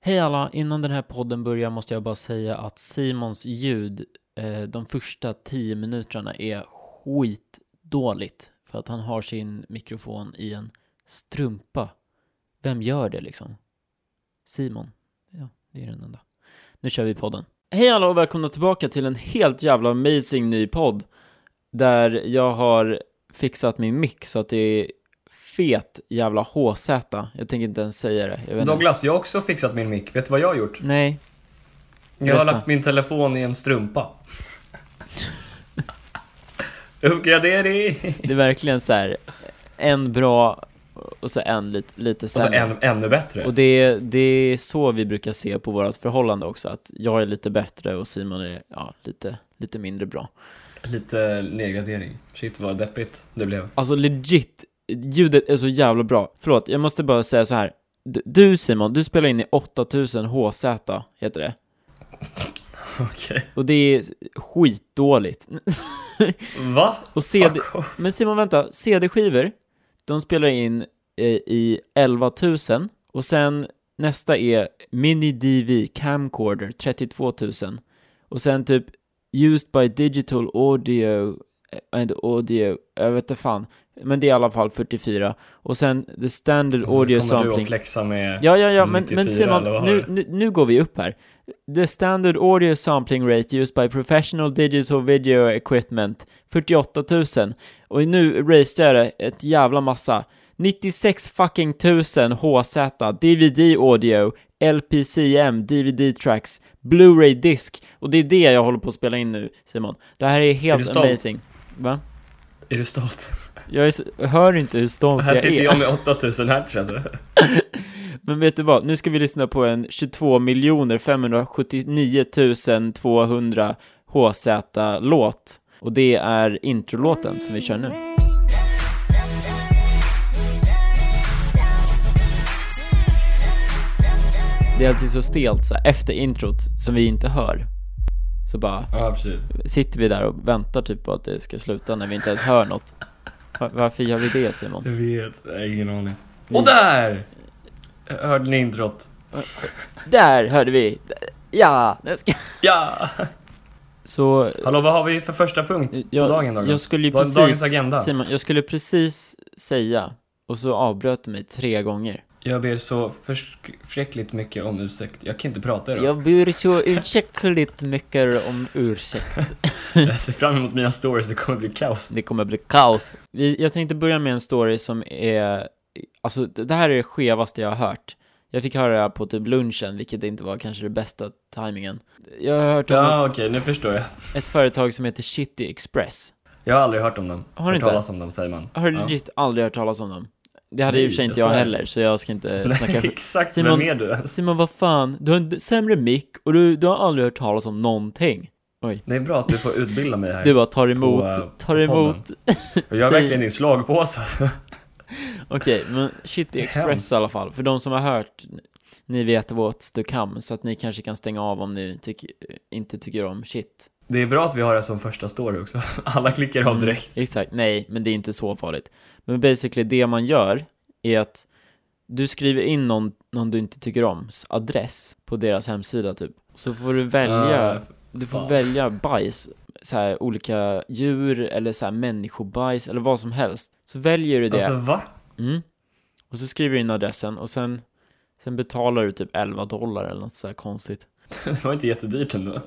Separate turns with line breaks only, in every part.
Hej alla, innan den här podden börjar måste jag bara säga att Simons ljud eh, de första tio minuterna är skitdåligt för att han har sin mikrofon i en strumpa. Vem gör det liksom? Simon. Ja, det är den enda. Nu kör vi podden. Hej alla och välkomna tillbaka till en helt jävla amazing ny podd där jag har fixat min mix så att det är fet jävla HZ. Jag tänker inte ens säga det. Jag vet inte.
Douglas, jag har också fixat min mick. Vet du vad jag har gjort?
Nej,
Jag har
Berätta.
lagt min telefon i en strumpa. Uppgradering!
Det är verkligen så här en bra och så en lite, lite
Och så
sämre.
än, ännu bättre.
Och det, det är så vi brukar se på vårt förhållande också, att jag är lite bättre och Simon är ja, lite, lite mindre bra.
Lite nedgradering. Shit vad deppigt det blev.
Alltså legit, ljudet är så jävla bra. Förlåt, jag måste bara säga så här. Du- Du Simon, du spelar in i 8000 HZ, heter det.
Okej.
Och det är skitdåligt.
Va?
och CD,
Fuck off.
Men Simon, vänta. CD-skivor, de spelar in eh, i 11 000 och sen nästa är Mini DV Camcorder 32 000 och sen typ Used by Digital Audio eh, and Audio, jag vet inte fan, men det är i alla fall 44 och sen The Standard Audio
Mm, Kommer du och
Sampling.
flexa med...
Ja, ja, ja, men, men
94
Simon,
eller vad har
nu,
du?
nu, nu går vi upp här. The standard audio sampling rate used by professional digital video equipment, 48 000. Och nu racear jag det ett jävla massa. 96 fucking 1000 HZ, DVD audio, LPCM, DVD tracks, Blu-ray disk. Och det är det jag håller på att spela in nu, Simon. Det här är
Är du
helt
stolt?
amazing. Va?
Är du stolt?
Jag är, så- hör inte hur stolt
Här
jag är.
sitter jag med 8000 hertz alltså.
Men vet du vad, nu ska vi lyssna på en 22 579 200 HZ-låt. Och det är introlåten som vi kör nu. Det är alltid så stelt så här, efter introt som vi inte hör. Så bara
Ja, precis.
sitter vi där och väntar typ på att det ska sluta när vi inte ens hör något. Va- Varför gör vi det Simon?
Jag vet. Jag har ingen aning. Och där! Hörde ni introt?
Där hörde vi! Ja! Jag ska...
Ja!
Så
Hallå, vad har vi för första punkt på
jag,
dagen Douglas?
jag skulle ju
Vad är
precis,
dagens agenda?
Simon, jag skulle precis säga och så avbröt du mig tre gånger.
Jag ber så förskräckligt mycket om ursäkt. Jag kan inte prata idag.
Jag ber så ursäktligt mycket om ursäkt.
Jag ser fram emot mina stories, det kommer bli kaos.
Det kommer bli kaos. Vi, jag tänkte börja med en story som är, alltså det det här är det skevaste jag har hört. Jag fick höra det här på typ lunchen, vilket inte var kanske det bästa timingen. Jag har hört om
Ja, okej, nu förstår jag.
ett, ett företag som heter Shitty Express.
Jag har aldrig hört om dem.
Har du
hört
inte?
talas om dem, säger man.
Jag har
Ja.
legit aldrig hört talas om dem. Det hade i och för sig
Nej,
inte
jag
jag
sa det.
heller, så jag ska inte Eh, snacka
Nej,
skit.
exakt.
Simon-
Vem är du?
Simon, vad fan, du har en sämre mick och du, du har aldrig hört talas om någonting.
Det är bra att du får utbilda mig här.
Du bara tar emot,
eh, på
tar emot.
Och jag är
säg-
verkligen din slagpåse.
Okej, men shit i Express
Hemskt.
i alla fall. För de som har hört, ni vet vårt du kan, så att ni kanske kan stänga av om ni tycker- inte tycker om shit.
Det är bra att vi har det som första story också. Alla klickar av direkt.
Mm, exakt, nej, men det är inte så farligt. Men basically det man gör är att du skriver in någon, någon du inte tycker om, adress på deras hemsida typ. Så får du välja
Eh,
Du får
Fan.
välja bajs, så här, olika djur eller så här, människobajs eller vad som helst. Så väljer du det,
alltså va?
mm. och så skriver du in adressen och sen, sen betalar du typ 11 dollar eller något så här konstigt.
Det var inte jättedyrt ändå.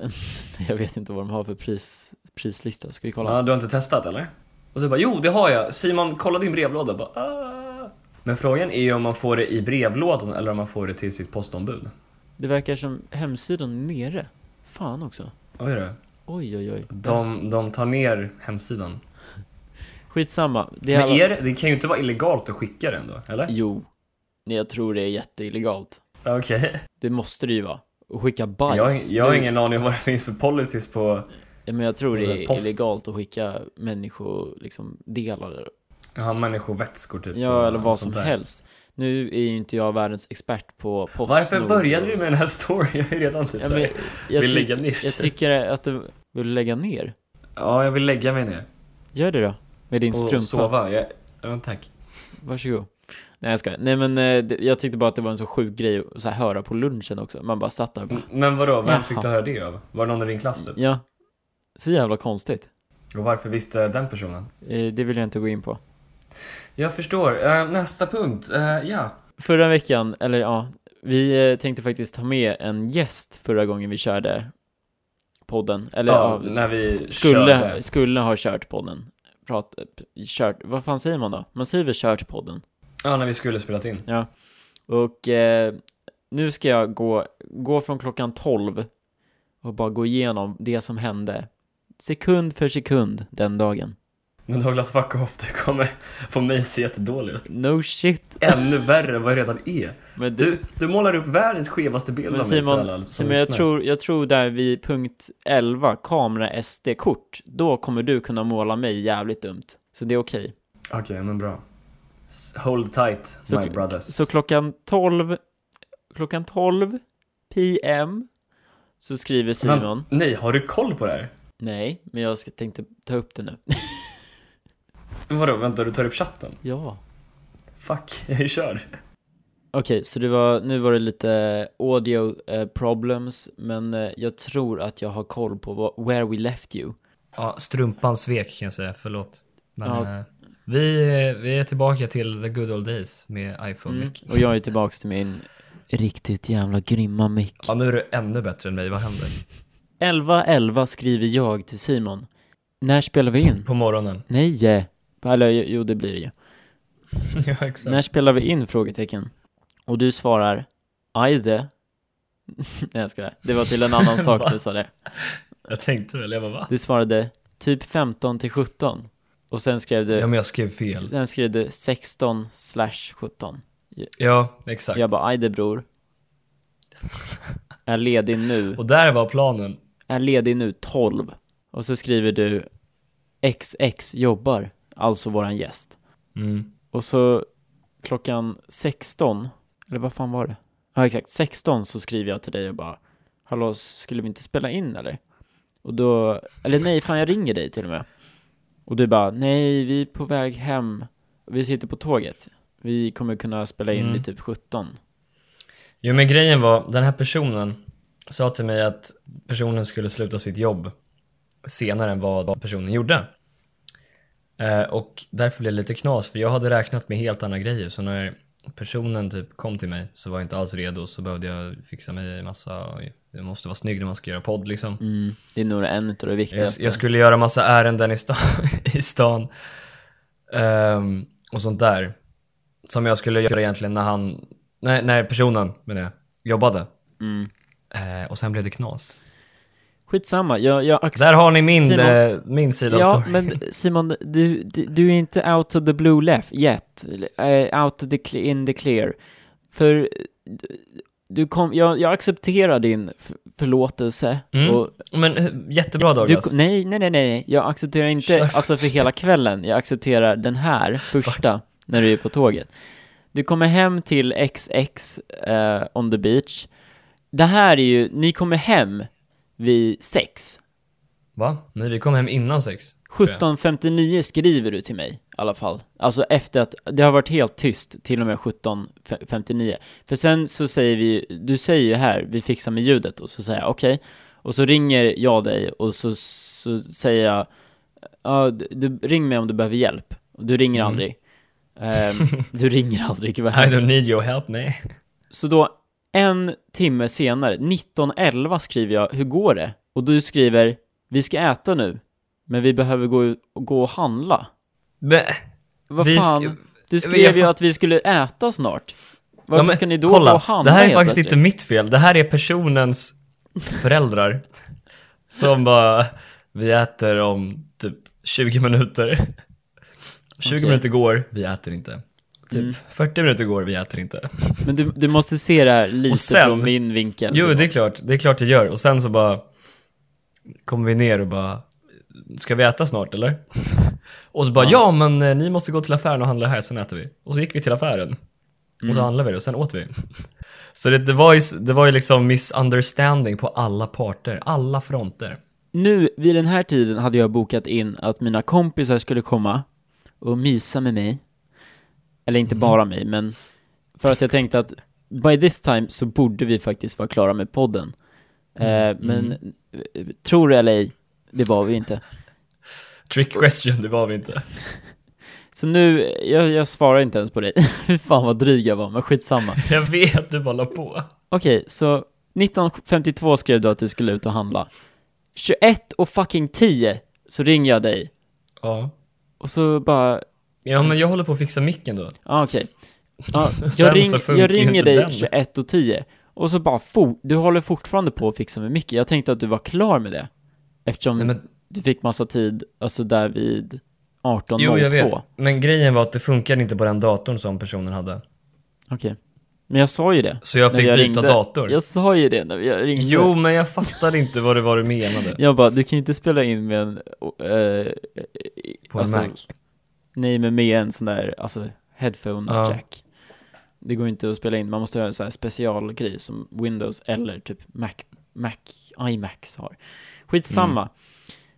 Jag vet inte vad de har för pris, prislista, ska vi kolla?
Ja, du har inte testat eller? Och du bara, jo det har jag. Simon, kolla din brevlåda. Bara, "Ah." Men frågan är ju om man får det i brevlådan eller om man får det till sitt postombud.
Det verkar som hemsidan är nere. Fan också.
Oj då.
Oj, oj, oj.
De, de tar ner hemsidan.
Skitsamma. Det
Men
alla-
är, det- det kan ju inte vara illegalt att skicka den då, eller?
Jo. Nej, jag tror det är jätteillegalt.
Okej.
Det måste det ju vara. Att skicka bajs.
Jag, jag har
Det-
ingen aning om vad det finns för policies på...
Ja, men jag tror
Och så
det
här,
är
post.
illegalt att skicka människodelar. Liksom, delar.
Jaha, människovätskor typ. och
ja, eller vad
sånt
som
där.
helst. Nu är ju inte jag världens expert på post.
Varför
och-
började vi med den här storyn? Jag är redan typ
Ja,
ja,
men, jag,
vill
tyck-
lägga ner. typ.
jag tycker att du vill lägga ner.
ja, jag vill lägga mig ner.
Gör det då. Med din
Och
strumpa.
sova. Jag, ja, tack.
Varsågod. Nej jag skojar. Nej men eh, det- jag tyckte bara att det var en så sjuk grej att så här, höra på lunchen också. Man bara satt där och bara,
Men vadå, vem
Jaha.
fick du höra det av? Var det någon i din klass
Mm.
typ?
ja. Så jävla konstigt.
Och varför visste den personen?
Eh, det vill jag inte gå in på.
Jag förstår. Eh, nästa punkt, eh, ja.
Förra veckan, eller ja, vi eh, tänkte faktiskt ta med en gäst förra gången vi körde podden. Eller
ja,
ja,
när vi körde.
skulle, skulle ha kört podden. Prat, kört, vad fan säger man då? Man säger väl kört podden?
Ja, när vi skulle spelat in.
Och eh, nu ska jag gå, gå från klockan 12 och bara gå igenom det som hände sekund för sekund den dagen.
Men Douglas fuck off, det kommer få mig att se jättedålig ut.
No shit.
Ännu värre än vad jag redan är.
Men, det,
Du, du målar upp världens skevaste bild
men
av mig för alla
alltså,
Simon,
som
Simon jag,
lyssnar.
tror, jag tror där vid punkt 11, kamera SD-kort, då kommer du kunna måla mig jävligt dumt. Så det är okej.
Okej, men bra. S- Hold tight,
Så-
my brothers.
Så klockan 12, klockan 12 PM så skriver
Men-
Simon.
Nej, har du koll på det här?
Nej, men jag ska, tänkte ta upp det nu.
Vadå, vänta, du tar upp chatten?
ja.
Fuck, jag kör.
Okej, så det var, nu var det lite audio eh, problems, men eh, jag tror att jag har koll på vad, where we left you.
Ja, strumpan svek kan jag säga, förlåt. Men,
Ja.
eh, vi, vi är tillbaka till the good old days med iPhone
Mm.
mic.
Och jag är tillbaks till min riktigt jävla grymma mick.
Ja, nu är du ännu bättre än mig, vad händer?
11.11 skriver jag till Simon. När spelar vi in?
På morgonen.
Nej! eh. Eller jo, det blir det ju.
ja, exakt.
När spelar vi in? Frågetecken. Och du svarar Ajde. Nej jag skojar. Det var till en annan sak du sa det.
Jag tänkte väl, jag bara va?
Du svarade typ 15 till 17. Och sen skrev
Ja,
du,
men jag skrev fel.
sen skrev du 16 slash 17.
Ja, exakt.
Jag bara Ajde bror. Är ledig nu.
Och där var planen.
Är ledig nu 12. Och så skriver du XX jobbar. Alltså våran gäst.
Mm.
Och så klockan 16, eller vad fan var det? Ja exakt, 16 så skriver jag till dig och bara Hallå, skulle vi inte spela in eller? Och då, eller nej fan jag ringer dig till och med Och du bara, nej vi är på väg hem Vi sitter på tåget Vi kommer kunna spela in
Mm.
vid typ 17
Jo, men grejen var, den här personen sa till mig att personen skulle sluta sitt jobb senare än vad personen gjorde. Eh, och därför blev det lite knas, för jag hade räknat med helt andra grejer. Så när personen typ kom till mig så var jag inte alls redo, så behövde jag fixa mig en massa... Jag måste vara snygg när man ska göra podd liksom.
mm. Det är nog en av det
Jag,
viktigaste
jag skulle göra massa ärenden i stan, i stan Ehm, och sånt där. Som jag skulle göra egentligen när han, nej, när personen menar jag, jobbade.
mm.
Eh, och sen blev det knas.
Skitsamma, jag, jag accepterar
Där har ni min,
Simon-
eh, min sida av
Ja,
storyn.
men Simon, du, du, du är inte out of the blue left yet. Eh, out of the cle- in the clear. För eh, du kom, jag, jag accepterar din f- förlåtelse.
Mm,
och
Men eh, jättebra
du,
Douglas.
nej, nej, nej, nej, jag accepterar inte,
Kör.
alltså för hela kvällen, jag accepterar den här första när du är på tåget. Du kommer hem till XX eh, on the beach. Det här är ju, ni kommer hem vid sex.
Va? Nej, vi kom hem innan sex. tror jag.
17.59 skriver du till mig i alla fall. Alltså efter att, det har varit helt tyst till och med 17.59. För sen så säger vi, du säger ju här, vi fixar med ljudet och så säger jag okej. Och så ringer jag dig och så, så säger jag, ja, du, du, ring mig om du behöver hjälp. Och du ringer
Mm.
aldrig. Ehm, du ringer aldrig, vad
I don't
hemskt.
need your help, nej.
Så då, en timme senare, 19.11 skriver jag, hur går det? Och du skriver, vi ska äta nu, men vi behöver gå, ut- gå och handla.
Men,
Vad
vi sk-
fan? du skrev
jag
ju
fatt-
att vi skulle äta snart.
Ja,
Varför
men
ska ni då gå
kolla,
och handla
Det här är
helt
faktiskt
plötsligt?
inte mitt fel. Det här är personens föräldrar som bara, vi äter om typ 20 minuter. 20
Okej.
minuter går, vi äter inte. Typ
Mm.
40 minuter går, vi äter inte.
Men du, du måste se det här lite
sen-
från min vinkel.
Jo,
Simon.
det är klart. Det är klart det gör. Och sen så bara kommer vi ner och bara, ska vi äta snart eller? Och så bara, ja men eh, ni måste gå till affären och handla här, sen äter vi. Och så gick vi till affären. Och så handlade vi det och sen åt vi. Så det, det, var ju, s- det var ju liksom misunderstanding på alla parter, alla fronter.
Nu, vid den här tiden, hade jag bokat in att mina kompisar skulle komma och mysa med mig. Eller inte bara mig, men för att jag tänkte att by this time så borde vi faktiskt vara klara med podden. Eh, men eh, tror det eller ej, det var vi inte.
Trick question, det var vi inte.
Så nu, eh, jag, jag svarar inte ens på dig. Fy fan vad dryg jag var, men skitsamma.
Jag vet, du bara la på.
Okej, så 1952 skrev du att du skulle ut och handla. 21 och fucking 10 så ringer jag dig
Ja.
och så bara,
Ja, men jag håller på att fixa micken då.
ah, okej. Ja,
Sen
jag, ring,
så funkar
jag
ju
ringer
inte
dig
den.
21 och 10 och så bara, fo- du håller fortfarande på att fixa med Micke. Jag tänkte att du var klar med det. Eftersom
Nej, men,
du fick massa tid, alltså där vid 18.02.
jo, jag vet.
Okej.
Men grejen var att det funkade inte på den datorn som personen hade.
Men jag sa ju det.
Så jag
när
fick byta
ringde.
dator.
Jag sa ju det när jag ringde.
Jo, men jag fattade inte vad det var du menade.
Jag bara, du kan ju inte spela in med en... eh,
På en
alltså,
Mac.
Nej, men med en sån där, alltså headphone
Ja.
jack. Det går inte att spela in, man måste ha en sån här specialgrej som Windows eller typ Mac, Mac, iMacs har. Skitsamma.
Mm.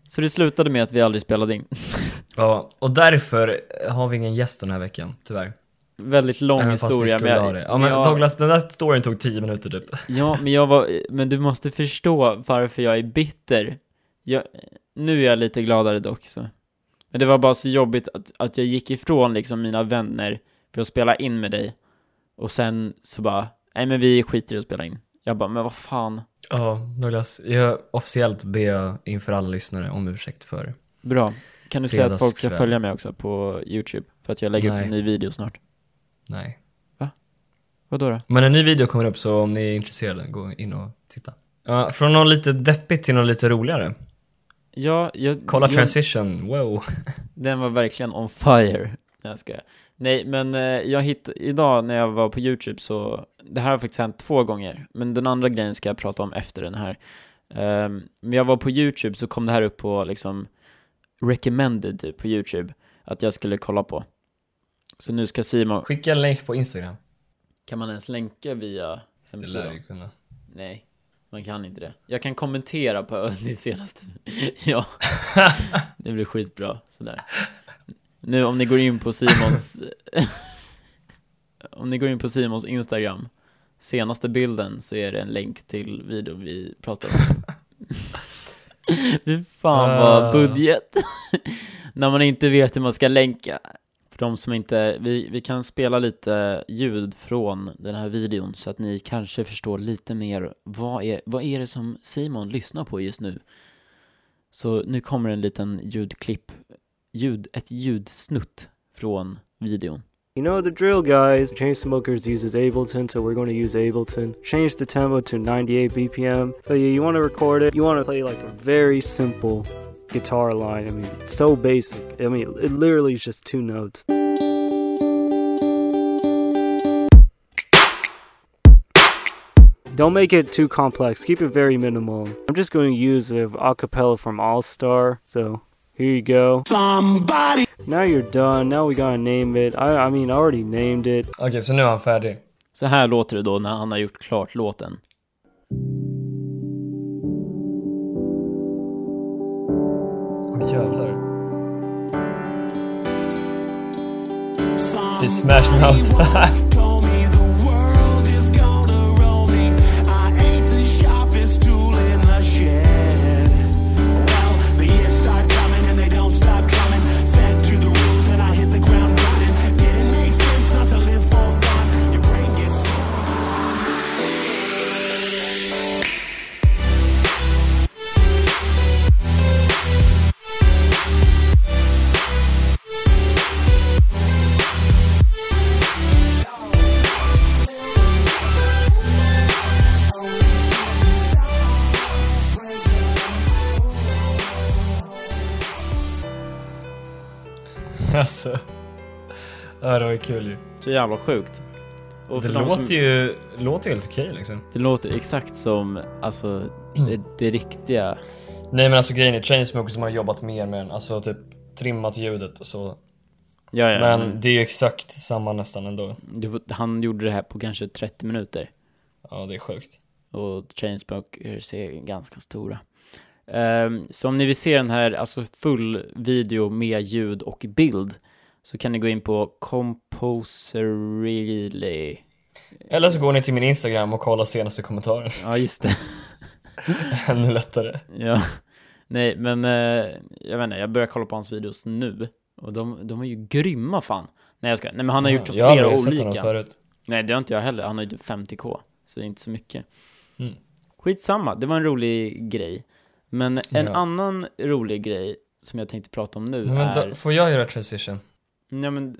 Så det slutade med att vi aldrig spelade in.
Ja, och därför har vi ingen gäst den här veckan, tyvärr.
Väldigt lång
Även fast vi
historia.
skulle ha det. Ja, men
jag,
Douglas, den där storyn tog 10 minuter typ.
ja, men jag var, men du måste förstå varför jag är bitter. Jag, nu är jag lite gladare dock så. Men det var bara så jobbigt att, att jag gick ifrån liksom mina vänner för att spela in med dig. Och sen så bara, nej men vi skiter i att spela in. Jag bara, men vad fan.
Ja, Douglas, jag officiellt ber jag inför alla lyssnare om ursäkt för
Bra. Kan du säga att folk ska
Fredagskväll.
följa mig också på YouTube? För att jag lägger upp
Nej.
en ny video snart.
nej.
Vadå då?
Men en ny video kommer upp så om ni är intresserade, gå in och titta. Ja, från något lite deppigt till något lite roligare.
Ja, jag...
Kolla
jag,
transition, wow.
Den var verkligen on fire. Nej, jag skojar. Nej, men eh, jag hittade, idag när jag var på YouTube så, det här har faktiskt hänt två gånger, men den andra grejen ska jag prata om efter den här. Ehm, men jag var på YouTube så kom det här upp på liksom recommended typ på YouTube, att jag skulle kolla på. Så nu ska Simon,
Skicka en länk på Instagram.
kan man ens länka via
Det
hemsidan?
lär ju kunna.
Nej, man kan inte det. Jag kan kommentera på din senaste. ja, det blir skitbra sådär. Nu om ni går in på Simons... om ni går in på Simons Instagram, senaste bilden så är det en länk till videon vi pratar om. Fy fan
Ah.
vad budget. När man inte vet hur man ska länka. För de som inte, vi, vi kan spela lite ljud från den här videon så att ni kanske förstår lite mer vad är, vad är det som Simon lyssnar på just nu. Så nu kommer en liten ljudklipp, ljud, ett ljudsnutt från videon.
You know the drill, guys. Chainsmokers uses Ableton, so we're going to use Ableton. Change the tempo to 98 BPM. So yeah, you want to record it. You want to play like a very simple guitar line. I mean, it's so basic. I mean, it literally is just two notes. Don't make it too complex. Keep it very minimal. I'm just going to use a acapella from All Star. So here you go.
Somebody.
Now you're done. Now we gotta name it. I, I mean, I already named it.
Okej, så nu är han färdig.
Så här låter det då när han har gjort klart låten.
Åh jävlar. Fy smash mouth.
Told me the world is gonna roll me. I ain't the sharpest tool in the shed. Well, the years start coming and they don't stop coming. Fed to the rules and I hit the ground running. Didn't make sense not to live for fun. Your brain gets.
alltså. Ja, det var ju kul ju.
Så jävla sjukt. Och
Det
för de
låter
som,
ju, låter ju helt okej liksom.
det låter exakt som alltså,
Mm.
det, det riktiga.
Nej men alltså grejen är Chainsmokers som har jobbat mer med den, alltså typ trimmat ljudet och
Mm.
så.
Ja, ja,
Men
men
det är ju exakt samma nästan ändå.
det var- han gjorde det här på kanske 30 minuter.
Ja det är sjukt.
Och Chainsmokers är ganska stora. Ehm, så om ni vill se den här alltså full video med ljud och bild så kan ni gå in på Composerily.
Eller så går ni till min Instagram och kollar senaste kommentaren.
Ja, just det.
Ännu lättare.
Ja, nej men eh, jag vet inte, jag börjar kolla på hans videos nu och de, de är ju grymma fan. Nej jag ska, nej men han har gjort
jag har
flera
aldrig sett honom
olika.
förut.
Nej det har inte jag heller, han har ju typ 50k, så det är inte så mycket.
Mm.
Skitsamma, det var en rolig grej. Men en
Ja.
annan rolig grej som jag tänkte prata om nu
Nej, men
är...
då, får jag göra transition?
Nej men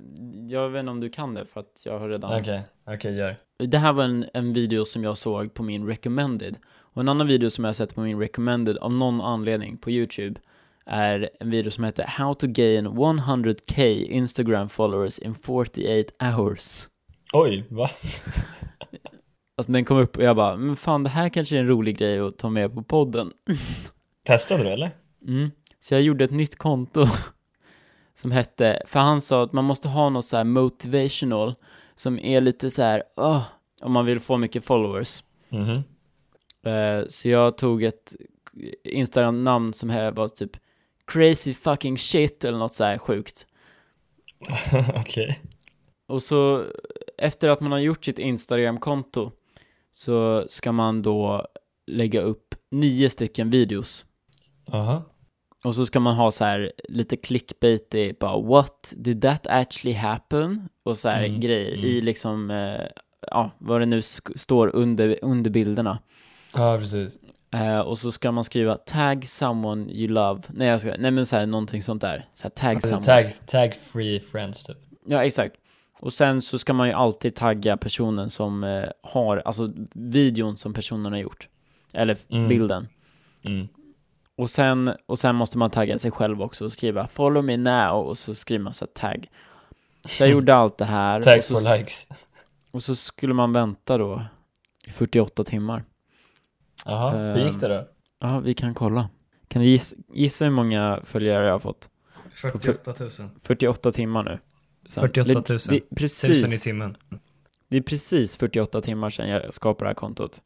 jag vet inte om du kan det för att jag har redan...
Okej, okej gör.
Det här var en, en video som jag såg på min recommended. Och en annan video som jag har sett på min recommended av någon anledning på YouTube är en video som heter How to gain 100k Instagram followers in 48 hours.
Oj, va?
Alltså den kom upp och jag bara, men fan det här kanske är en rolig grej att ta med på podden.
Testade du eller?
Mm. Så jag gjorde ett nytt konto som hette, för han sa att man måste ha något så här motivational som är lite så här, "Åh", om man vill få mycket followers.
Mhm.
Eh, Så jag tog ett Instagram-namn som här var typ crazy fucking shit eller något så här sjukt.
Okej.
Och så efter att man har gjort sitt Instagram-konto så ska man då lägga upp nio stycken videos.
Aha.
Och så ska man ha så här lite clickbaitig, bara what did that actually happen? Och så här
Mm,
grejer
mm.
i liksom, eh, ja, vad det nu sk- står under, under bilderna.
Ja, precis.
Eh, och så ska man skriva tag someone you love. Nej jag ska, nej men såhär någonting sånt där. Såhär tag
Alltså,
someone.
tag, tag free friends typ.
Ja exakt. Och sen så ska man ju alltid tagga personen som eh, har, alltså videon som personen har gjort. Eller
Mm.
bilden.
Mm.
Och sen, och sen måste man tagga sig själv också och skriva 'follow me now' och så skriver man såhär tag. Så jag gjorde allt det här. och
Tags
så,
for likes.
och så skulle man vänta då i 48 timmar.
Jaha,
Ehm,
hur gick det då?
Ja, vi kan kolla. Kan du gissa, gissa hur många följare jag har fått? 48
000.
48 timmar nu. Sen.
48 000.
Det, det, är precis,
timmen.
det är precis 48 timmar sedan jag skapade det här kontot.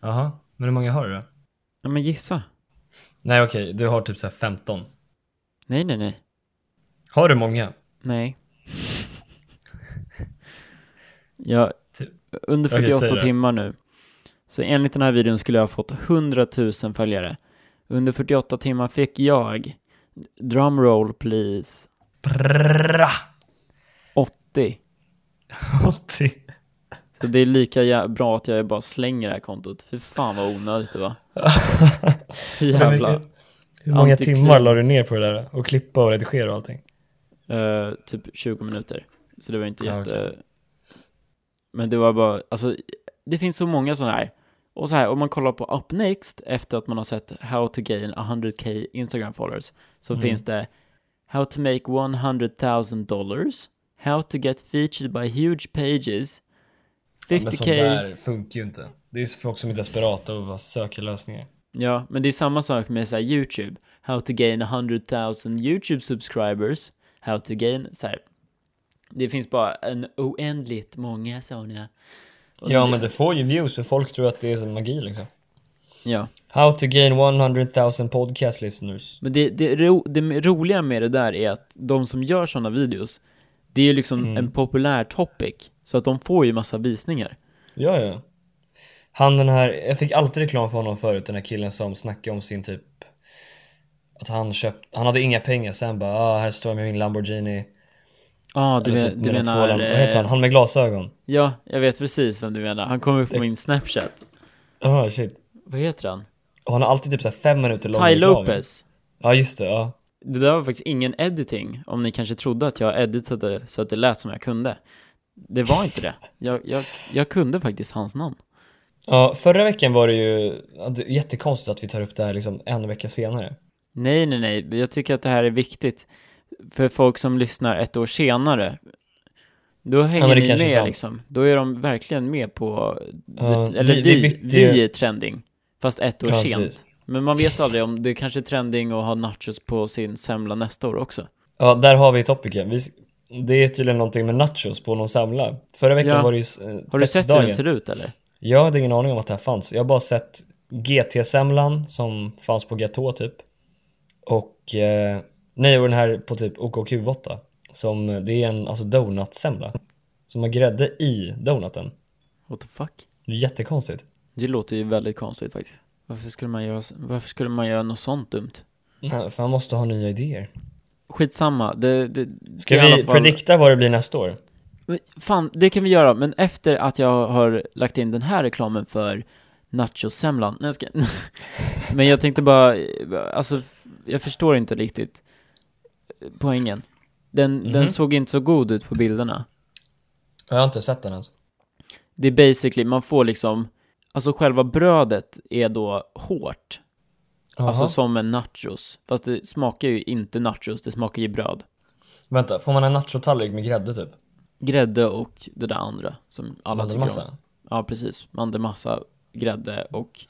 Jaha, men hur många har du då?
Ja, men gissa.
Nej okej, du har typ såhär 15.
Nej, nej, nej.
Har du många?
Nej. Jag,
Typ.
under
Okej, säg
48
det.
timmar nu. Så enligt den här videon skulle jag ha fått 100 000 följare. Under 48 timmar fick jag, drumroll please,
Brrrra!
80.
80.
Så det är lika jä- bra att jag bara slänger det här kontot. Fy fan vad onödigt det var. Jävlar.
Hur många
Antiklimax.
timmar la du ner på det där? Och klippa och redigera och allting?
Eh, typ 20 minuter. Så det var inte
Ja,
jätte... Men det var bara, alltså det finns så många sådana här. Och så här, om man kollar på Up Next efter att man har sett How to gain 100k Instagram followers så
Mm.
finns det How to make 100 000 dollars, How to get featured by huge pages, 50k...
Men sånt där funkar ju inte. Det är ju folk som är desperata och bara söker lösningar.
Ja, men det är samma sak med så här, YouTube. How to gain 100,000 YouTube subscribers. How to gain... Så här. Det finns bara en oändligt många sådana. Och
Ja men det får ju views och folk tror att det är som magi liksom.
Ja,
How to gain 100,000 podcast listeners.
men det, det, ro, det roliga med det där är att de som gör sådana videos, det är ju liksom
Mm.
en populär topic. Så att de får ju massa visningar.
Ja, ja. Han den här, jag fick alltid reklam för honom förut, den här killen som snackade om sin typ att han köpt, han hade inga pengar sen bara ah, här står jag med min Lamborghini.
Ja, du,
Eller
men,
typ
du
mina två
menar...
Lam- vad heter han?
eh,
Han med glasögon.
Ja, jag vet precis vem du menar. Han kom upp på min Snapchat.
Ja, shit.
Vad heter han?
Och han har alltid typ så här fem minuter lång
Ty
reklam.
Lopez.
Ja, just det. Ja.
Det där var faktiskt ingen editing, om ni kanske trodde att jag editade så att det lät som jag kunde. Det var inte det. Jag, jag, jag kunde faktiskt hans namn.
Ja, förra veckan var det ju ja, det är jättekonstigt att vi tar upp det här liksom en vecka senare.
Nej, nej, nej. Jag tycker att det här är viktigt för folk som lyssnar ett år senare. Då hänger
Ja, men det
ni
kanske är
med
sant.
liksom. Då är de verkligen med på, det,
Ja,
eller vi,
vi-
vi,
vi bytte ju-
är trending, fast ett år
Ja,
sent.
precis.
Men man vet aldrig om det kanske är trending att ha nachos på sin semla nästa år också.
Ja, där har vi topicen. Vi, det är tydligen någonting med nachos på någon samla. Förra veckan
Ja.
var det ju
Har
eh,
du sett hur den
festdagen.
ser ut eller?
Jag hade ingen aning om att det här fanns. Jag har bara sett GT-semlan som fanns på Gatå typ. Och, eh, nej och den här på typ OKQ8. Som, det är en alltså donutsemla. Som har grädde i donuten.
What the fuck?
Det är jättekonstigt.
Det låter ju väldigt konstigt faktiskt. Varför skulle man göra, varför skulle man göra något sånt dumt?
Nej, För man måste ha nya idéer.
Skitsamma. Det, det,
Ska
det är i
vi
alla fall-
predikta vad det blir nästa år?
Men Fan, det kan vi göra, men efter att jag har lagt in den här reklamen för nachosemlan. Nej, jag ska... men jag tänkte bara, alltså jag förstår inte riktigt poängen. Den,
Mhm.
den såg inte så god ut på bilderna.
Jag har inte sett den ens.
Det är basically, man får liksom, alltså själva brödet är då hårt. Alltså
Jaha.
som en nachos. Fast det smakar ju inte nachos, det smakar ju bröd.
Vänta, får man en nachotallrik med grädde typ?
Grädde och det där andra som alla tycker om.
Mandelmassa?
Ja, precis. Mandelmassa, grädde och,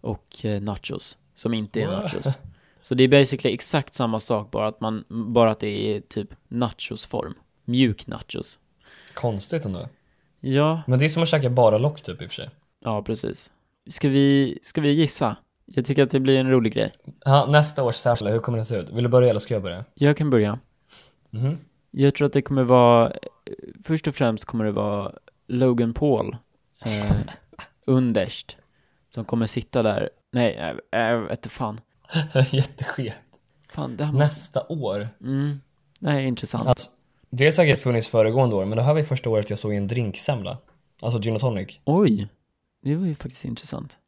och eh, nachos, som inte är nachos. Så det är basically exakt samma sak, bara att, man, bara att det är typ nachosform. Mjuk nachos.
Konstigt ändå.
Ja,
Men det är som att käka bara lock typ i och för sig.
ja precis. Ska vi, ska vi gissa? Jag tycker att det blir en rolig grej.
Ja, nästa års särskilda, hur kommer den se ut? Vill du börja eller ska jag börja?
Jag kan börja.
Mhm.
Jag tror att det kommer vara, först och främst kommer det vara Logan Paul eh, underst, som kommer sitta där. Nej, jag äh, vete fan.
Jätteskevt.
Fan, det här måste
Nästa år?
Mm. Nej, intressant.
Alltså, det har säkert funnits föregående år, men det här var ju första året jag såg en drinksemla. Alltså gin och tonic.
Oj, det var ju faktiskt intressant.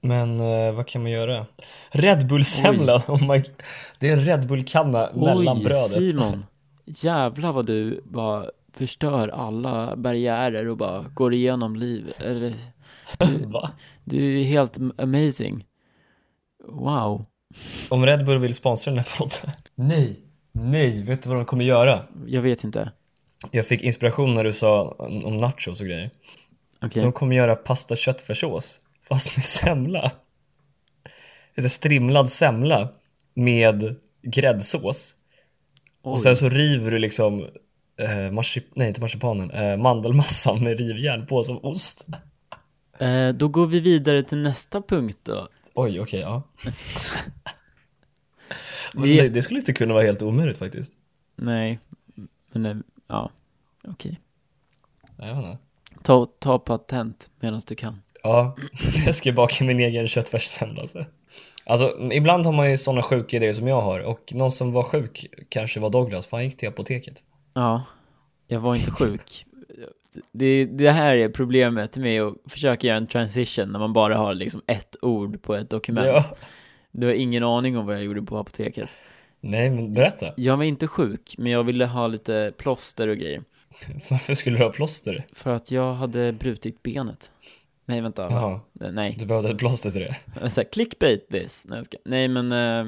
Men eh, vad kan man göra? Red Bull-semla! Oh my... Det är en Red Bull-kanna mellan
Oj,
brödet.
Simon. Jävlar vad du bara förstör alla barriärer och bara går igenom liv. Eller,
Va?
du är helt m- amazing. Wow.
Om Red Bull vill sponsra den här podden. Nej! Nej! Vet du vad de kommer göra?
Jag vet inte.
Jag fick inspiration när du sa om nachos och grejer.
Okej.
De kommer göra pasta köttfärssås, fast med semla. Lite strimlad semla med gräddsås.
Oj.
Och sen så river du liksom eh, marsip- nej inte marsipanen, eh, mandelmassan med rivjärn på som ost.
Eh, då går vi vidare till nästa punkt då.
Oj, okej, ja. Men
Det-
det, det skulle inte kunna vara helt omöjligt faktiskt.
Nej, men nej, ja, okej.
Jag vet inte.
Ta, ta patent medan du kan.
Ja, jag ska baka min egen köttfärssemla alltså. Alltså, ibland har man ju sådana sjuka idéer som jag har och någon som var sjuk kanske var Douglas för han gick till apoteket.
Ja, jag var inte sjuk. Det, det här är problemet med att försöka göra en transition när man bara har liksom ett ord på ett dokument.
Ja.
Du har ingen aning om vad jag gjorde på apoteket.
Nej, men berätta.
Jag var inte sjuk, men jag ville ha lite plåster och grejer.
Varför skulle du ha plåster?
För att jag hade brutit benet. Nej, vänta. va?
Jaha,
Nej.
du behövde ett plåster till det.
Så här, clickbait this. Nej, jag ska. Nej men eh,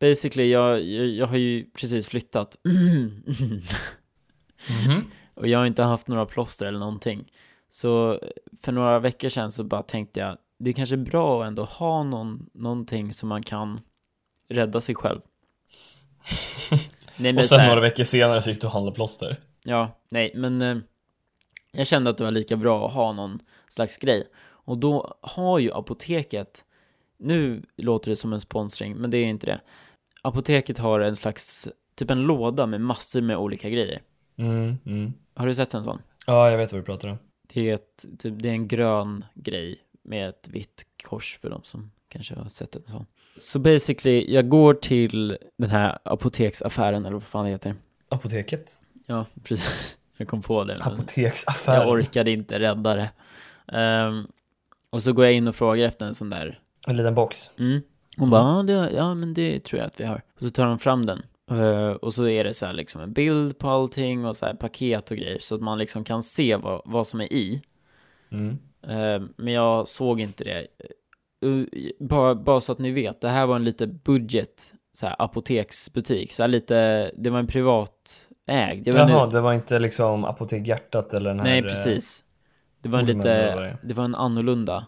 basically, jag, jag, jag har ju precis flyttat.
Mhm.
Och jag har inte haft några plåster eller någonting. Så eh, för några veckor sedan så bara tänkte jag, det är kanske är bra att ändå ha någon, någonting som man kan rädda sig själv. nej, men
Och
så
sen
här,
några veckor senare så gick du och handlade plåster.
Ja, nej, men eh, jag kände att det var lika bra att ha någon slags grej. Och då har ju apoteket, nu låter det som en sponsring, men det är inte det. Apoteket har en slags, typ en låda med massor med olika grejer.
Mm, mm.
Har du sett en sån?
Ja, jag vet vad du pratar om.
Det är, ett, typ, det är en grön grej med ett vitt kors för de som kanske har sett det så. Så basically, jag går till den här apoteksaffären, eller vad fan det heter.
Apoteket?
Ja, precis. Jag kom på det. men Jag
Apoteksaffär?
orkade inte rädda det. Ehm, och så går jag in och frågar efter en sån där.
En liten box.
Mm. Hon bara, ja, det, ja men det tror jag att vi har. Och så tar de fram den. Eh, och så är det så här liksom en bild på allting och så här paket och grejer. Så att man liksom kan se vad, vad som är i.
Mm.
Eh, Men jag såg inte det. Eh, Bara, bara så att ni vet, det här var en lite budget så här, apoteksbutik. Så här lite, det var en privat ägd. Jag vet
Jaha,
inte-
det var inte liksom Apotek Hjärtat eller den här...
nej,
eh,
precis. Det var en
ormen eller vad det
lite,
är.
det var en annorlunda.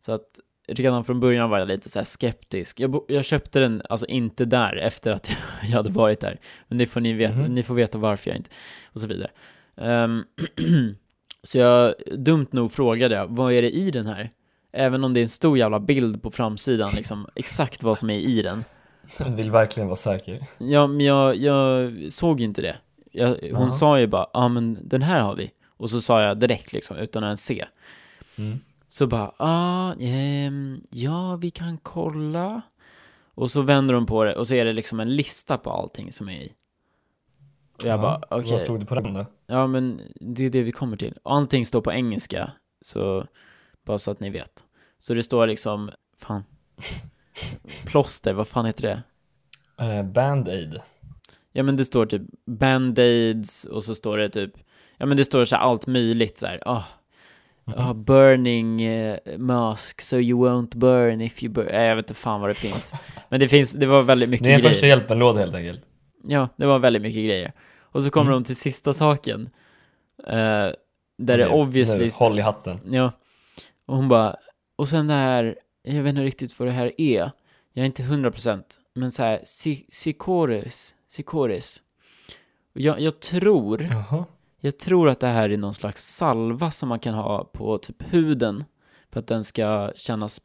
Så att redan från början var jag lite så här skeptisk. Jag, bo- jag köpte den, alltså inte där efter att jag hade varit där. Men det får ni veta,
Mhm.
ni får veta varför jag inte, och så vidare. Ehm, så jag, dumt nog frågade jag, vad är det i den här? Även om det är en stor jävla bild på framsidan, liksom exakt vad som är i den.
Vill verkligen vara säker.
Ja, men jag, jag såg ju inte det. Jag, hon
Jaha.
sa ju bara, ja ah, men den här har vi. Och så sa jag direkt liksom, utan att ens se.
Mm.
Så bara, ah, ehm, ja vi kan kolla. Och så vänder hon på det och så är det liksom en lista på allting som är i. Och jag bara, okej.
Vad stod det på den då?
Ja, men det är det vi kommer till. Allting står på engelska, så bara så att ni vet. Så det står liksom, fan, plåster, vad fan heter det?
Eh, Band-aid.
Ja, men det står typ band-aids och så står det typ, ja men det står så här allt möjligt så här, ah,
Mhm.
ah, burning eh, mask so you won't burn if you burn. Nej, jag vet inte fan vad det finns. Men det finns, det var väldigt mycket
Det är en
grejer.
första hjälpen-låda helt enkelt.
Ja, det var väldigt mycket grejer. Och så kommer
Mm.
de till sista saken. eh, där det
Nu,
obviously...
nu, Håll i hatten.
Ja. Och hon bara, och sen det här, jag vet inte riktigt vad det här är. Jag är inte hundra procent. Men så här, si- sikores, sikores. Och Jag, jag tror,
Jaha.
jag tror att det här är någon slags salva som man kan ha på typ huden. För att den ska kännas,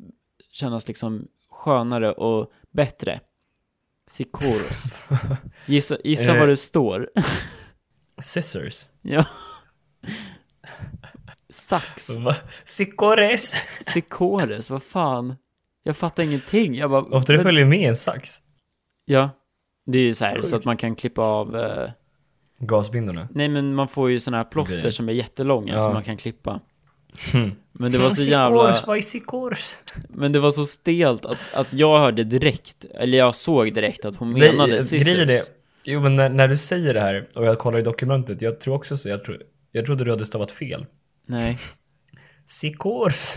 kännas liksom skönare och bättre. Sikoros. Gissa, gissa
Eh.
vad det står.
Scissors.
ja. Sax.
Sikores.
Sikores, vad fan? Jag fattar ingenting. Jag bara...
Ofta det
men-
följer med en sax.
Ja. Det är ju så här, så
Sjukt.
att man kan klippa av... eh,
Gasbindorna.
Nej, men man får ju såna här plåster
Grejer.
som är jättelånga
Ja.
som man kan klippa.
Hmm.
Men det var så jävla...
vad är sikors?
Men det var så stelt att, att jag hörde direkt, eller jag såg direkt att hon
Nej,
menade
eh, grejen är
scissors.
det. Jo men när, när du säger det här och jag kollar i dokumentet, jag tror också så, jag, tro, jag trodde du hade stavat fel.
Nej,
Sikors.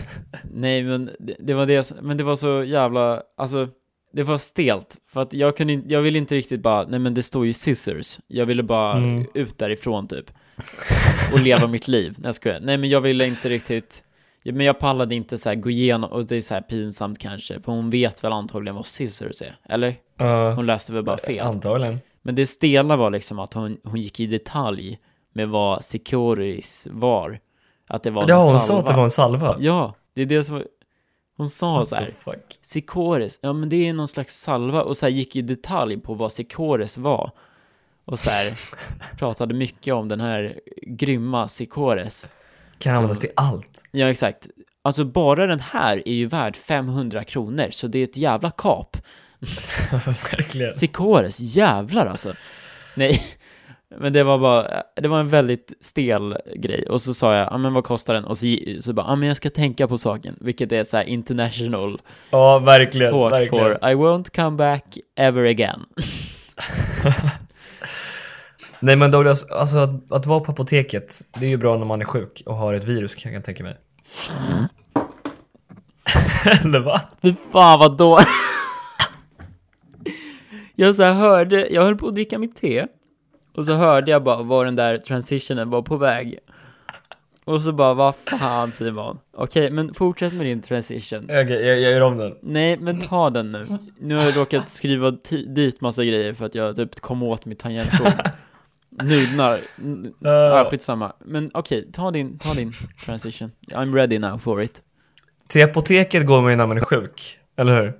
nej, men det, det var det som- Men det var så jävla... Alltså, det var stelt. För att jag kunde inte... Jag ville inte riktigt bara, nej men det står ju scissors. Jag ville bara
Mm.
ut därifrån typ. och leva mitt liv. Nej, jag skojar. Nej, men jag ville inte riktigt... ja, Men jag pallade inte så här gå igenom, och det är så här pinsamt kanske, för hon vet väl antagligen vad scissors är, eller?
Uh,
Hon läste väl bara fel.
antagligen.
Men det stela var liksom att hon, hon gick i detalj med vad Securis var. Att det var
Ja,
en
hon sa
salva.
att det var en salva.
Ja, det är det som... Hon sa så
What
här,
the fuck?
Sikores, ja men det är någon slags salva och så här gick i detalj på vad Sikores var. Och så här pratade mycket om den här grymma Sikores.
Kan användas till allt.
Ja exakt. Alltså bara den här är ju värd 500 kronor så det är ett jävla kap.
Verkligen.
Sikores, jävlar alltså. Nej, men det var bara, det var en väldigt stel grej. Och så sa jag, ja men vad kostar den? Och så, gi- så bara, ja men jag ska tänka på saken, vilket är så här international
Ja, verkligen.
talk
verkligen.
for I won't come back ever again.
Nej men Douglas, alltså att, att vara på apoteket, det är ju bra när man är sjuk och har ett virus kan jag tänka mig.
Mm.
Eller va?
Fy fan vad då. Jag så här hörde, jag höll på att dricka mitt te och så hörde jag bara var den där transitionen var på väg. Och så bara, vad fan Simon? Okej, men fortsätt med din transition.
Okej, jag, jag gör om den.
Nej, men ta den nu. Nu har jag råkat skriva ti- dit massa grejer för att jag typ kom åt mitt tangentbord. Nudnar. N-
Eh,
Ja, skitsamma. Men okej, ta din, ta din transition. I'm ready now for it.
Till apoteket går man ju när man är sjuk, eller hur?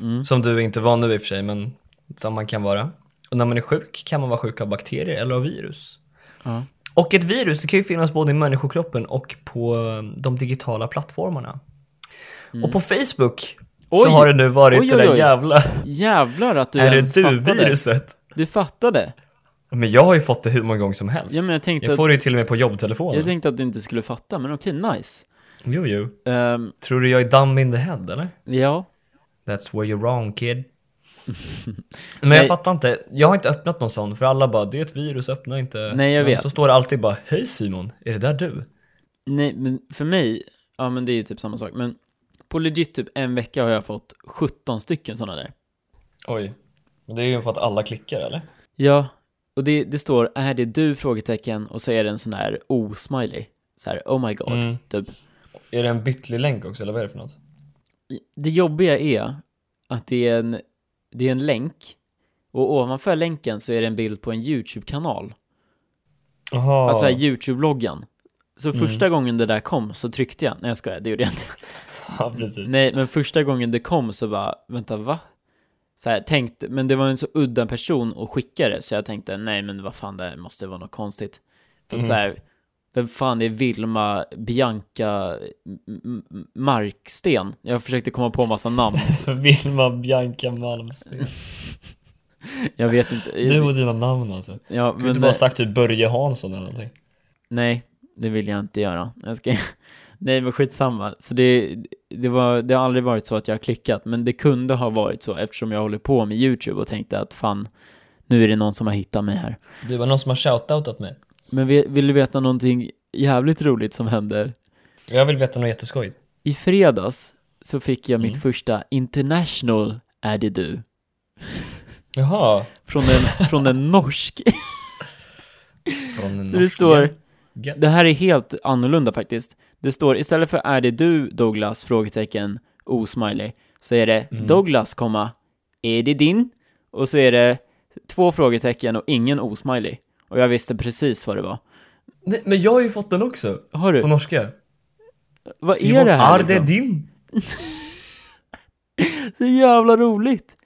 Mm.
Som du inte var nu i och för sig, men som man kan vara. Och när man är sjuk kan man vara sjuk av bakterier eller av virus.
Ja.
Och ett virus, det kan ju finnas både i människokroppen och på eh, de digitala plattformarna. Och på Facebook så
Mm. Oj!
har det nu varit
Oj,
det
oj,
där
oj.
jävla...
Jävlar att du
är
ens
det
fattade.
du-viruset?
Du fattade?
Men jag har ju fått det hur många gånger som helst.
Ja, men jag tänkte,
jag
att,
får det ju till och med på jobbtelefonen.
jag tänkte att du inte skulle fatta, men okej, nice.
Jo, jo.
Ehm,
Tror du jag är dumb in the head, eller?
ja,
That's where you're wrong kid. Men
Nej.
jag fattar inte, jag har inte öppnat någon sån för alla bara det är ett virus, öppna inte.
Nej, jag
men
vet.
så står det alltid bara hej Simon, är det där du?
nej, men för mig, ja men det är ju typ samma sak, men på legit typ en vecka har jag fått 17 stycken sådana där.
Oj, men det är ju för att alla klickar eller?
Ja, och det, det står är det du? frågetecken och så är det en sån där osmiley. Så här, oh my god.
Mm.
Typ.
Är det en bitlig länk också eller vad är det för något?
Det jobbiga är att det är en, det är en länk och ovanför länken så är det en bild på en YouTube-kanal.
Jaha.
Alltså här YouTube-loggan. Så
Mm.
första gången det där kom så tryckte jag, nej jag skojar, det gjorde jag inte.
ja, precis.
Nej, men första gången det kom så bara, vänta va? så här, tänkt, men det var en så udda person att skicka det, så jag tänkte nej men vad fan det här måste vara något konstigt. För att
Mm.
så här, vem fan är Vilma Bianca M- M- Marksten? Jag försökte komma på en massa namn,
Vilma Bianca Malmsten.
jag vet inte.
Du och dina namn alltså. Du
ja,
kunde inte bara sagt typ Börje Hansson eller någonting.
Nej, det vill jag inte göra. Jag ska... Nej, men skitsamma. Så det, det, var, det har aldrig varit så att jag har klickat, men det kunde ha varit så eftersom jag håller på med YouTube och tänkte att fan, nu är det någon som har hittat mig här.
Du var någon som har shoutoutat mig.
Men vi- vill du veta någonting jävligt roligt som hände?
Jag vill veta något jätteskojigt.
I fredags så fick jag mitt
Mm.
första international är det du
Jaha.
från en, från en norsk.
Från
Så det står
Gött.
Det här är helt annorlunda faktiskt. Det står istället för är det du Douglas? Frågetecken, osmiley. Så är det
Mm.
Douglas, komma, är det din? Och så är det två frågetecken och ingen osmiley. Och jag visste precis vad det var.
Nej, men jag har ju fått den också.
Har
På
du?
norska.
Vad är det här?
Är det
liksom?
din?
Så jävla roligt!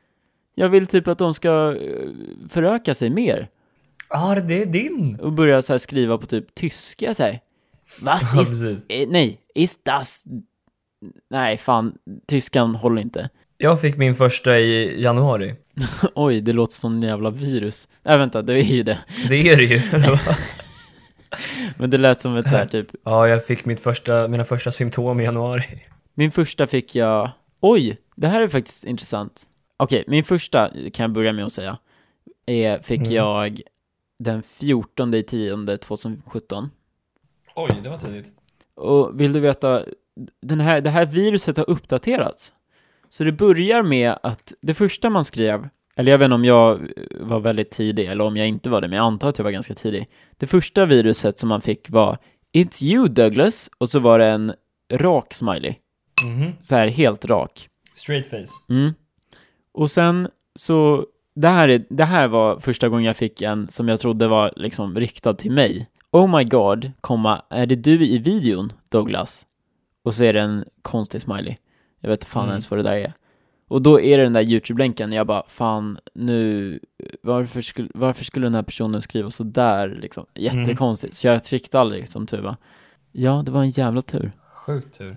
Jag vill typ att de ska eh, föröka sig mer
Är det din?
och börja så här skriva på typ tyska så här. Was
Ja,
ist
precis.
Eh, nej, ist das... Nej, fan, tyskan håller inte.
Jag fick min första i januari.
Oj, det låter som en jävla virus. Nej, vänta, det är ju det.
Det är det ju.
Men det lät som ett så här typ.
ja, jag fick mitt första, mina första symptom i januari.
Min första fick jag... Oj, det här är faktiskt intressant. Okej, min första kan jag börja med att säga. Är, fick
Mm.
jag den 14 i 10 2017.
Oj, det var tidigt.
Och vill du veta, den här, det här viruset har uppdaterats. Så det börjar med att det första man skrev, eller jag vet inte om jag eh, var väldigt tidig eller om jag inte var det, men jag antar att jag var ganska tidig. Det första viruset som man fick var It's you Douglas, och så var det en rak smiley.
Mhm.
Så här helt rak.
Straight face.
Mm. Och sen så, det här, är, det här var första gången jag fick en som jag trodde var liksom riktad till mig. Oh my god, komma, är det du i videon, Douglas? Och så är det en konstig smiley. Jag vet fan
Mm.
ens vad det där är. Och då är det den där YouTube-länken, jag bara fan nu, varför skulle, varför skulle den här personen skriva så där liksom? Jättekonstigt. Så jag tryckte aldrig som tur var. Ja, det var en jävla tur.
Sjukt tur.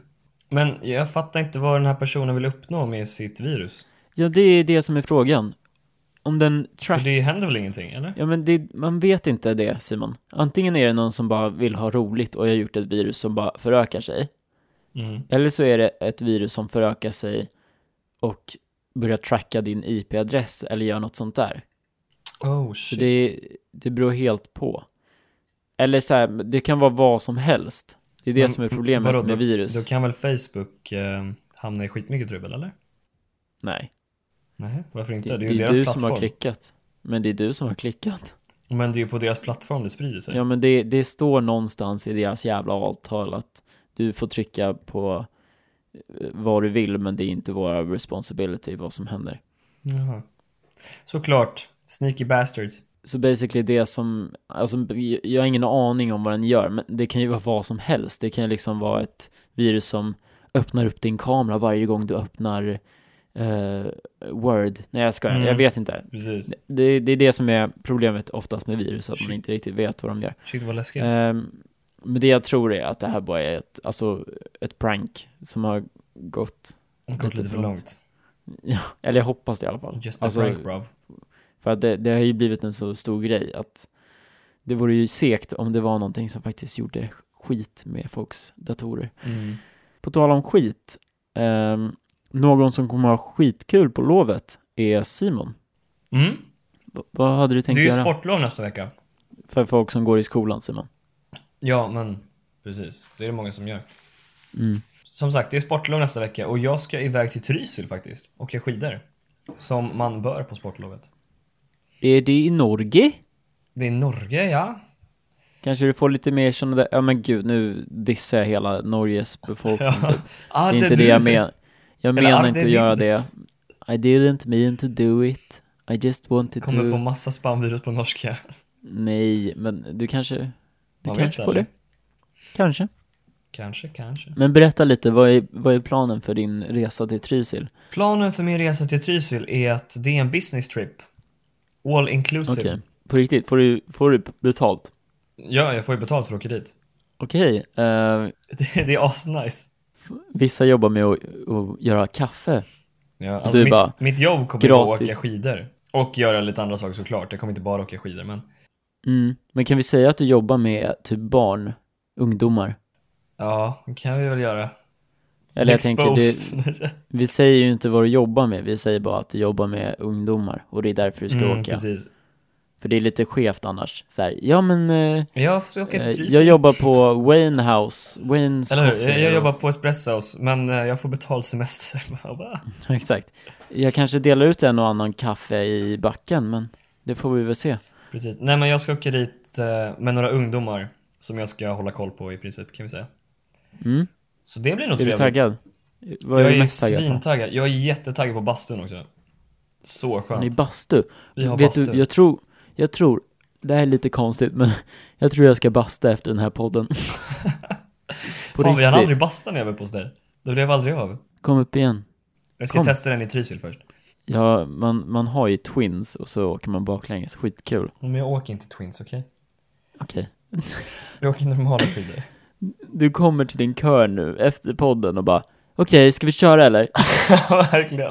Men jag fattar inte vad den här personen vill uppnå med sitt virus.
Ja, det är det som är frågan. Om den track
För det händer väl ingenting, eller?
Ja men det, man vet inte det Simon. Antingen är det någon som bara vill ha roligt och jag har gjort ett virus som bara förökar sig.
Mm.
Eller så är det ett virus som förökar sig och börjar tracka din IP-adress eller gör något sånt där.
Oh
Så
shit.
det, det beror helt på. Eller så här, det kan vara vad som helst. Det är det
Men
som är problemet
vadå,
med virus.
Då kan väl Facebook eh, hamna i skitmycket trubbel, eller?
Nej,
Nej, varför
det,
inte?
det,
Det, är ju
är
deras
du
plattform.
som har klickat. Men det är du som har klickat.
Men det är ju på deras plattform det sprider sig.
Ja men det, det står någonstans i deras jävla avtal att du får trycka på eh, vad du vill men det är inte vår responsibility vad som händer.
Jaha. Såklart. Sneaky bastards.
Så basically det som, alltså jag har ingen aning om vad den gör men det kan ju vara vad som helst. Det kan ju liksom vara ett virus som öppnar upp din kamera varje gång du öppnar eh, word. Nej jag skojar,
Mm.
jag vet inte.
Precis.
Det, det är det som är problemet oftast med virus, att man inte riktigt vet vad de gör.
Shit vad läskigt.
Ehm, men det jag tror är att det här bara är ett, alltså, ett prank som har gått,
Det gått
lite
lite för
för
långt.
eller jag hoppas det i alla fall.
Just a
alltså,
prank bruv.
för att det, det har ju blivit en så stor grej att det vore ju segt om det var någonting som faktiskt gjorde skit med folks datorer.
Mm.
På tal om skit, ehm, någon som kommer ha skitkul på lovet är Simon.
Mm.
V- vad hade du
Det är
tänkt
ju
göra
sportlov nästa vecka.
för folk som går i skolan, Simon?
Ja, men precis. Det är det många som gör.
Mm.
Som sagt, det är sportlov nästa vecka och jag ska iväg till Trysil faktiskt. Och jag skidor. Som man bör på sportlovet.
Är det i Norge?
Det är Norge, ja.
Kanske du får lite mer sådana där, ja men gud nu dissar jag hela Norges befolkning typ. Det
Ah,
är inte det jag menar. Jag
Eller
menar
är
inte
det
att göra
din?
det. I didn't mean to do it. I just wanted
Kommer få
to.
massa spamvirus på norska.
Nej, men du kanske, du
Man vet
kanske får det.
aldrig.
Kanske.
Kanske, kanske.
Men berätta lite, vad är, vad är planen för din resa till Trysil?
Planen för min resa till Trysil är att det är en business trip. All inclusive.
Okej, på riktigt, får du, får du betalt?
Ja, jag får ju betalt för att åka dit.
Okej, eh,
Det, det är asnice.
vissa jobbar med att, att göra kaffe.
Ja, alltså
Du
mitt,
bara,
mitt jobb kommer vara att
gratis.
åka skidor. Och göra lite andra saker såklart. Jag kommer inte bara åka skidor, men
Mm. Men kan vi säga att du jobbar med typ barn, ungdomar?
ja, det kan vi väl göra.
Eller jag tänker, det,
Exposed.
vi säger ju inte vad du jobbar med, vi säger bara att du jobbar med ungdomar och det är därför du ska
mm,
åka.
precis.
För det är lite skevt annars. Så här, ja men, eh,
Jag får åka till
eh,
Trysil.
jag jobbar på Wayne House, Waynes
Eller hur?
Coffee,
Jag, jag jobbar på Espresso House, men eh, jag får betald semester. Jag bara,
Exakt. Jag kanske delar ut en och annan kaffe i backen, men det får vi väl se.
Precis. Nej men jag ska åka dit eh, med några ungdomar som jag ska hålla koll på i princip kan vi säga.
Mm.
Så det blir nog
Är du
trevligt.
taggad? Vad är
Jag
du
är
mest taggad på?
svintaggad. Jag är jättetaggad på bastun också. Så
Ni
skönt.
bastu.
Vi har
Vet
bastu.
du, jag tror, jag tror, det här är lite konstigt, men jag tror jag ska basta efter den här podden. på
Fan vi hann
riktigt.
aldrig basta när jag var på hos dig. Det blev aldrig av.
Kom upp igen.
Jag ska
Kom.
testa den i Trysil först.
Ja, man, man har ju twins och så åker man baklänges. Skitkul.
Men jag åker inte Twins, okej?
Okej.
Jag åker normala skidor.
Du kommer till din kör nu efter podden och bara Okej, ska vi köra eller? Okej,
Ja, Verkligen.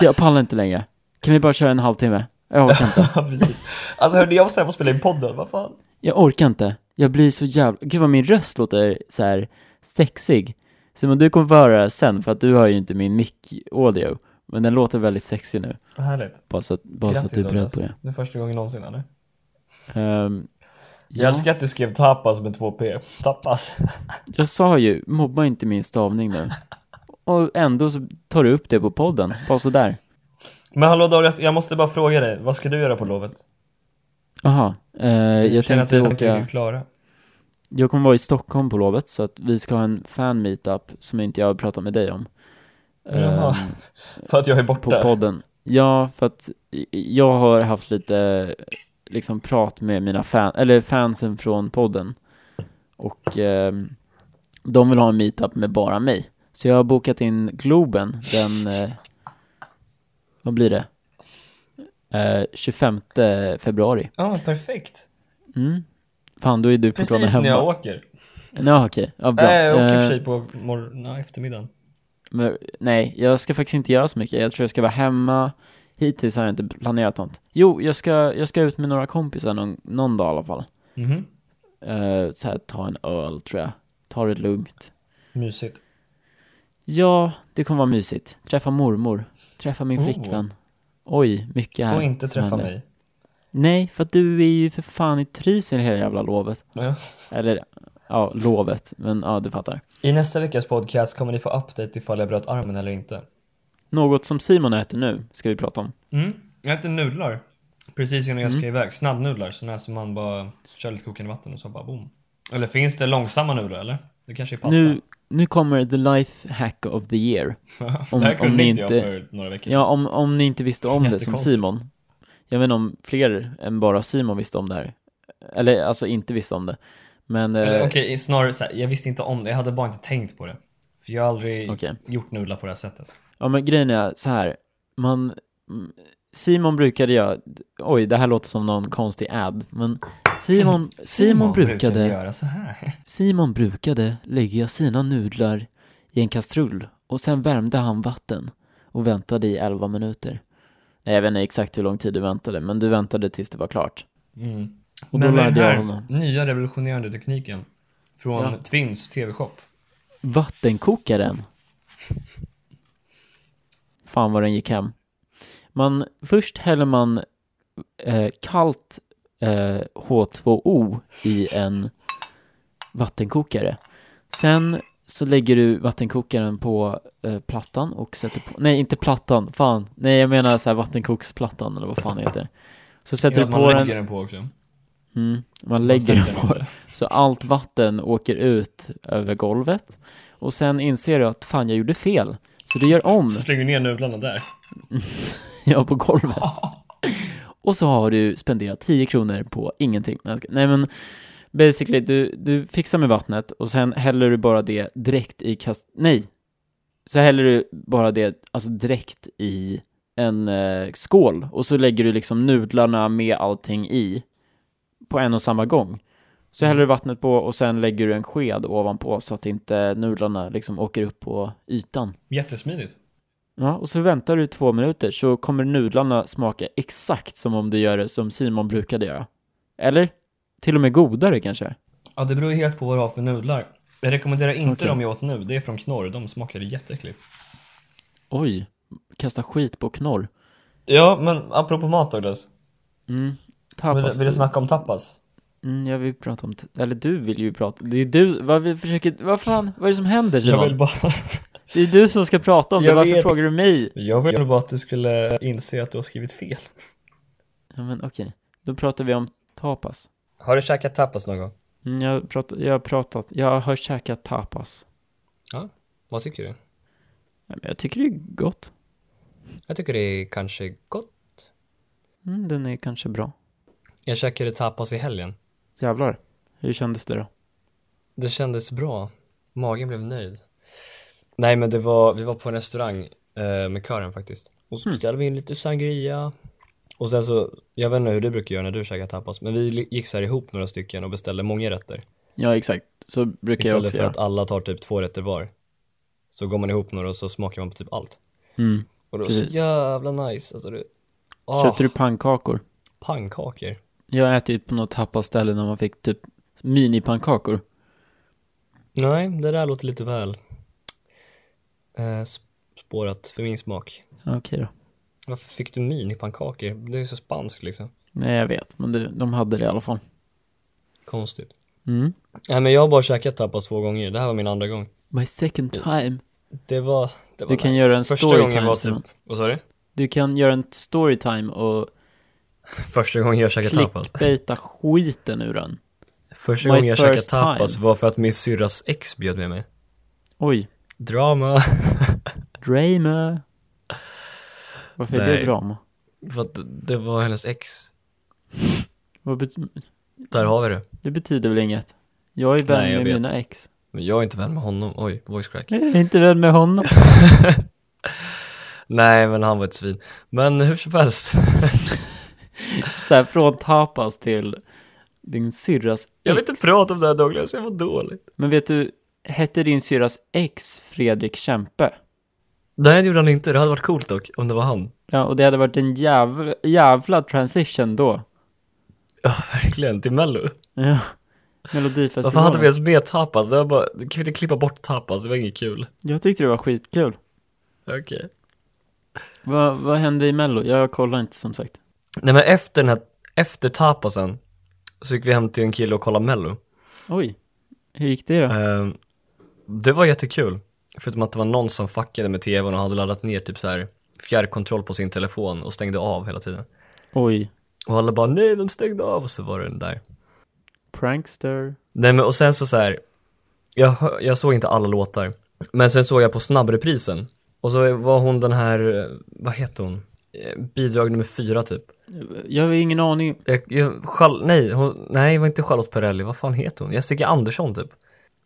jag pallar inte längre. Kan vi bara köra en halvtimme? Jag orkar inte.
Ja, precis. Alltså hörni, jag måste få spela in podden, vad fan?
Jag orkar inte. Jag blir så jävla... Gud vad min röst låter så här sexig. Simon, du kommer få höra det här sen för att du hör ju inte min mic-audio. Men den låter väldigt sexig nu.
Vad härligt.
Bara så att, bara så att du är beredd
Douglas.
på det.
Det är första gången någonsin, eller?
Ehm,
Jag
ja,
älskar att du skrev tapas med två p. Tapas.
jag sa ju, mobba inte min stavning nu. Och ändå så tar du upp det på podden, bara sådär.
Men hallå Douglas, jag måste bara fråga dig, vad ska du göra på lovet?
Jaha, eh, jag
känner att vi
tänkte
inte
åka...
riktigt klara.
Jag kommer vara i Stockholm på lovet, så att vi ska ha en fan meetup som inte jag har pratat med dig om.
Jaha.
Ehm,
För att jag är
på
borta.
podden. Ja, för att i- jag har haft lite eh, liksom prat med mina fan, eller fansen från podden. Och ehm, de vill ha en meetup med bara mig. Så jag har bokat in Globen den, eh, vad blir det? Eh, 25 februari.
Ja, perfekt.
Mm. Fan, då är du fortfarande
Precis när
hemma.
jag åker.
Ja, okej. Ja, bra.
Nej, jag åker i och
Eh,
för sig på morgonen, eftermiddagen.
Men, nej, jag ska faktiskt inte göra så mycket. Jag tror jag ska vara hemma. Hittills har jag inte planerat något. Jo, jag ska, jag ska ut med några kompisar någon, någon dag i alla fall.
Mhm.
Uh, så här, ta en öl tror jag. Ta det lugnt.
Mysigt.
Ja, det kommer vara mysigt. Träffa mormor. Träffa min
Oh.
flickvän. Oj, mycket här.
Och inte
som
träffa
händer.
mig.
Nej, för att du är ju för fan i Trysil hela jävla lovet.
Ja.
Eller, ja, lovet. Men ja, du fattar.
I nästa veckas podcast kommer ni få update ifall jag bröt armen eller inte.
Något som Simon äter nu, ska vi prata om.
Mm. Jag äter nudlar. Precis innan jag ska iväg. Snabbnudlar, sådana här som man bara kör lite kokande vatten och så bara boom. Eller finns det långsamma nudlar eller? Det kanske är pasta?
Nu, nu kommer the life hack of the year.
det här
om-
kunde
om ni
inte jag
inte-
för några veckor
Ja, om, om ni inte visste om det som
Jättekonstigt.
Simon. Jag vet inte om fler än bara Simon visste om det här. Eller alltså inte visste om det. Men eh,
Eller
okej,
Okej, snarare så här, jag visste inte om det, jag hade bara inte tänkt på det. För jag har aldrig gjort nudlar på det här sättet.
ja men grejen är så här. Man, mm, Simon brukade göra, oj det här låter som någon konstig ad, men Simon, Simon, brukade,
göra så här.
Simon brukade lägga sina nudlar i en kastrull och sen värmde han vatten och väntade i 11 minuter. Nej, jag vet inte exakt hur lång tid du väntade, men du väntade tills det var klart.
Mm.
Och
Men
då
med
lärde
den här
jag honom.
nya revolutionerande tekniken från
Ja.
Twins TV-shop.
Vattenkokaren. Fan vad den gick hem. Man, först häller man eh, kallt eh, H2O i en vattenkokare. Sen så lägger du vattenkokaren på eh, plattan och sätter på, nej inte plattan, fan, nej jag menar så här vattenkoksplattan eller vad fan det heter. Så sätter
Gör
du
att man
på den,
lägger den på också.
mm, man
Man
lägger den
sätter
på, så allt vatten åker ut över golvet. Och sen inser jag att fan, jag gjorde fel. Så du gör om,
Så slänger du ner nudlarna där.
ja, på golvet. Och så har du spenderat 10 kronor på ingenting. Nej, jag ska- Nej, men basically, du, du fixar med vattnet och sen häller du bara det direkt i kast... Nej! Så häller du bara det, alltså direkt i en eh, skål och så lägger du liksom nudlarna med allting i på en och samma gång. Så häller du vattnet på och sen lägger du en sked ovanpå så att inte nudlarna liksom åker upp på ytan.
Jättesmidigt.
Ja, och så väntar du i två minuter så kommer nudlarna smaka exakt som om du gör det som Simon brukade göra. Eller? Till och med godare kanske?
Ja, det beror ju helt på vad du har för nudlar. Jag rekommenderar inte
Okej.
de jag åt nu, det är från Knorr, de smakade jätteäckligt.
Oj, kasta skit på knorr.
Ja, men apropå mat Douglas,
Mm,
vill,
tapas.
vill du snacka om tapas?
Mm, jag vill prata om, t- eller du vill ju prata, det är du, vad vi försöker, vad fan, vad är det som händer
Jag
Simon?
vill bara...
Det är du som ska prata om det,
Jag
varför
vet.
frågar du mig?
Jag vill bara att du skulle inse att du har skrivit fel.
Ja men okej, då pratar vi om tapas.
Har du käkat tapas någon gång?
Mm, jag, prat, jag har pratat, jag har käkat tapas.
Vad tycker du?
Ja, men jag tycker det är gott.
Jag tycker det är kanske gott.
Mm, den är kanske bra.
Jag käkade tapas i helgen.
Jävlar. Hur kändes det då?
Det kändes bra. Magen blev nöjd. Nej men det var, vi var på en restaurang eh, med kören faktiskt. Och så beställde vi in lite sangria. Och sen så, jag vet inte hur du brukar göra när du käkar tapas, men vi li- gick så här ihop några stycken och beställde många rätter.
Ja, exakt. Så brukar jag
Istället
också
för
göra.
att alla tar typ två rätter var. Så går man ihop några och så smakar man på typ allt.
Mm.
Och det var så
Precis.
jävla nice. Alltså det, ah,
Köpte du pannkakor?
pannkakor.
Jag har ätit på något tapasställe när man fick typ minipannkakor.
Nej, det där låter lite väl eh, sp- spårat för min smak.
Ja, Okej då.
Varför fick du minipannkakor? Det är ju så spanskt liksom.
Nej, jag vet, men det, de hade det i alla fall.
Konstigt.
Mm.
Nej men jag har bara käkat tapas två gånger, det här var min andra gång.
My second time.
Det var, det var
Du kan
nice.
göra en
Första
storytime,
gången var
Simon.
typ, vad sa du?
Du kan göra en storytime och
Första gången jag käkade tapas.
clickbaita skiten ur den.
Första
My
gången jag
first
käkade tapas
time.
var för att min syrras ex bjöd med mig.
Oj,
Drama.
drama. Varför är det
Nej.
drama?
för att det var hennes ex.
Vad bet-
Där har vi det.
det betyder väl inget? Jag är vän
Nej, jag
med
vet.
mina ex.
Men jag är inte vän med honom. Oj, voice crack.
Jag är inte vän med honom.
Nej men han var ett svin. Men hur som helst.
Så här, från tapas till din syrras ex.
Jag vill inte prata om det här Douglas, jag var dålig.
Men vet du, hette din syrras ex Fredrik Kämpe?
Nej det gjorde han inte, det hade varit coolt dock om det var han.
Ja, och det hade varit en jävla, jävla transition då.
Ja verkligen, till mello.
Ja.
Varför
Melodifestivalen.
hade vi ens med tapas? Det var bara, kan vi inte klippa bort tapas? Det var inget kul.
Jag tyckte det var skitkul.
Okej.
Vad, vad hände i Mello? Jag kollar inte som sagt.
Nej men efter den här, efter tapasen så gick vi hem till en kille och kollade mello.
Oj, hur gick det då?
Ehm, det var jättekul. Förutom att det var någon som fuckade med tvn och hade laddat ner typ så här fjärrkontroll på sin telefon och stängde av hela tiden.
Oj,
Och alla bara nej, de stängde av och så var den där.
prankster.
Nej men och sen så, så här. Jag, hö- jag såg inte alla låtar. Men sen såg jag på snabbreprisen. Och så var hon den här, eh, vad heter hon? Eh, Bidrag nummer fyra typ.
Jag har ingen aning.
Jag, jag, Chal- nej, hon, nej, det var inte Charlotte Perrelli, vad fan heter hon? Jessica Andersson typ.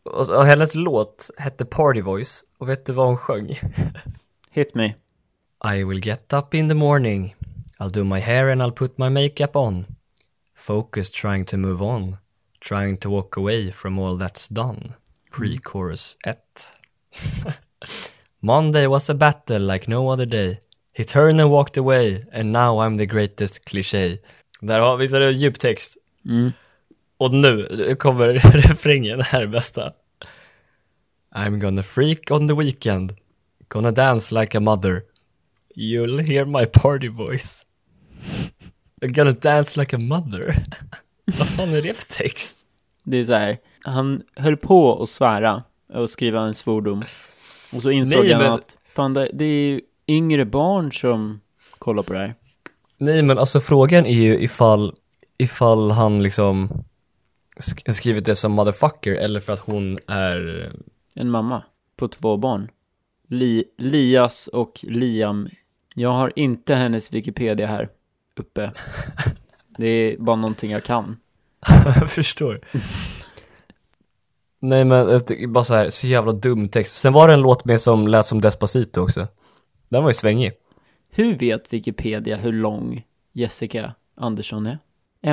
Och, och hennes låt hette Party Voice och vet du vad hon sjöng?
Hit me.
I will get up in the morning. I'll do my hair and I'll put my makeup on. Focus trying to move on. Trying to walk away from all that's done. Pre-chorus 1. Monday was a battle like no other day. He turned and walked away and now I'm the greatest cliché. Där har vi, så är det djuptext.
Mm.
Och nu kommer refrängen, det här är bästa. I'm gonna freak on the weekend. Gonna dance like a mother. You'll hear my party voice. I'm gonna dance like a mother. Vad fan är det för text?
Det är så här. Han höll på att svära och skriva en svordom. Och så insåg
Nej,
han
men-
att fan, det, det är ju yngre barn som kollar på det här.
Nej men alltså frågan är ju ifall, ifall han liksom sk- skrivit det som motherfucker eller för att hon är...
En mamma på två barn. Li, Lias och Liam. Jag har inte hennes Wikipedia här uppe. Det är bara någonting jag kan.
Jag förstår. Nej men jag tycker bara så här, så jävla dum text. Sen var det en låt med som lät som Despacito också. Den var ju svängig.
Hur vet Wikipedia hur lång Jessica Andersson är?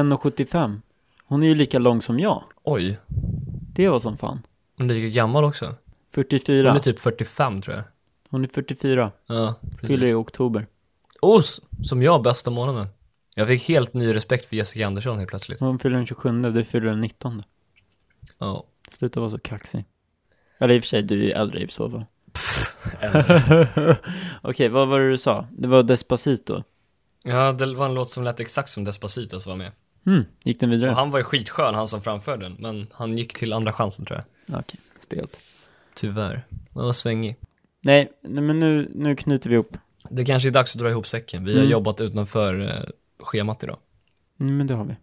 1,75. Hon är ju lika lång som jag.
Oj,
Det var som fan.
hon är lika gammal också. Hon
44.
är typ 45 tror jag.
Hon är 44.
Ja,
Fyller i
precis.
oktober.
Os, som jag bästa månaden. Jag fick helt ny respekt för Jessica Andersson helt plötsligt.
Hon fyller den 27, du fyller den 19.
Ja.
Sluta vara så kaxig. Eller i och för sig, du är ju äldre i så fall.
Äldre.
Okej, vad var det du sa? Det var Despacito.
Ja, det var en låt som lät exakt som Despacito som var med.
Hmm, gick den
Och
vidare?
han var ju skitskön, han som framförde den. Men han gick till andra chansen tror jag.
Okej, stelt.
Tyvärr. Den var svängig.
Nej, nej men nu, nu knyter vi ihop.
Det kanske är dags att dra ihop säcken. Vi har
Mm.
jobbat utanför eh, schemat idag.
Mm, men det har vi.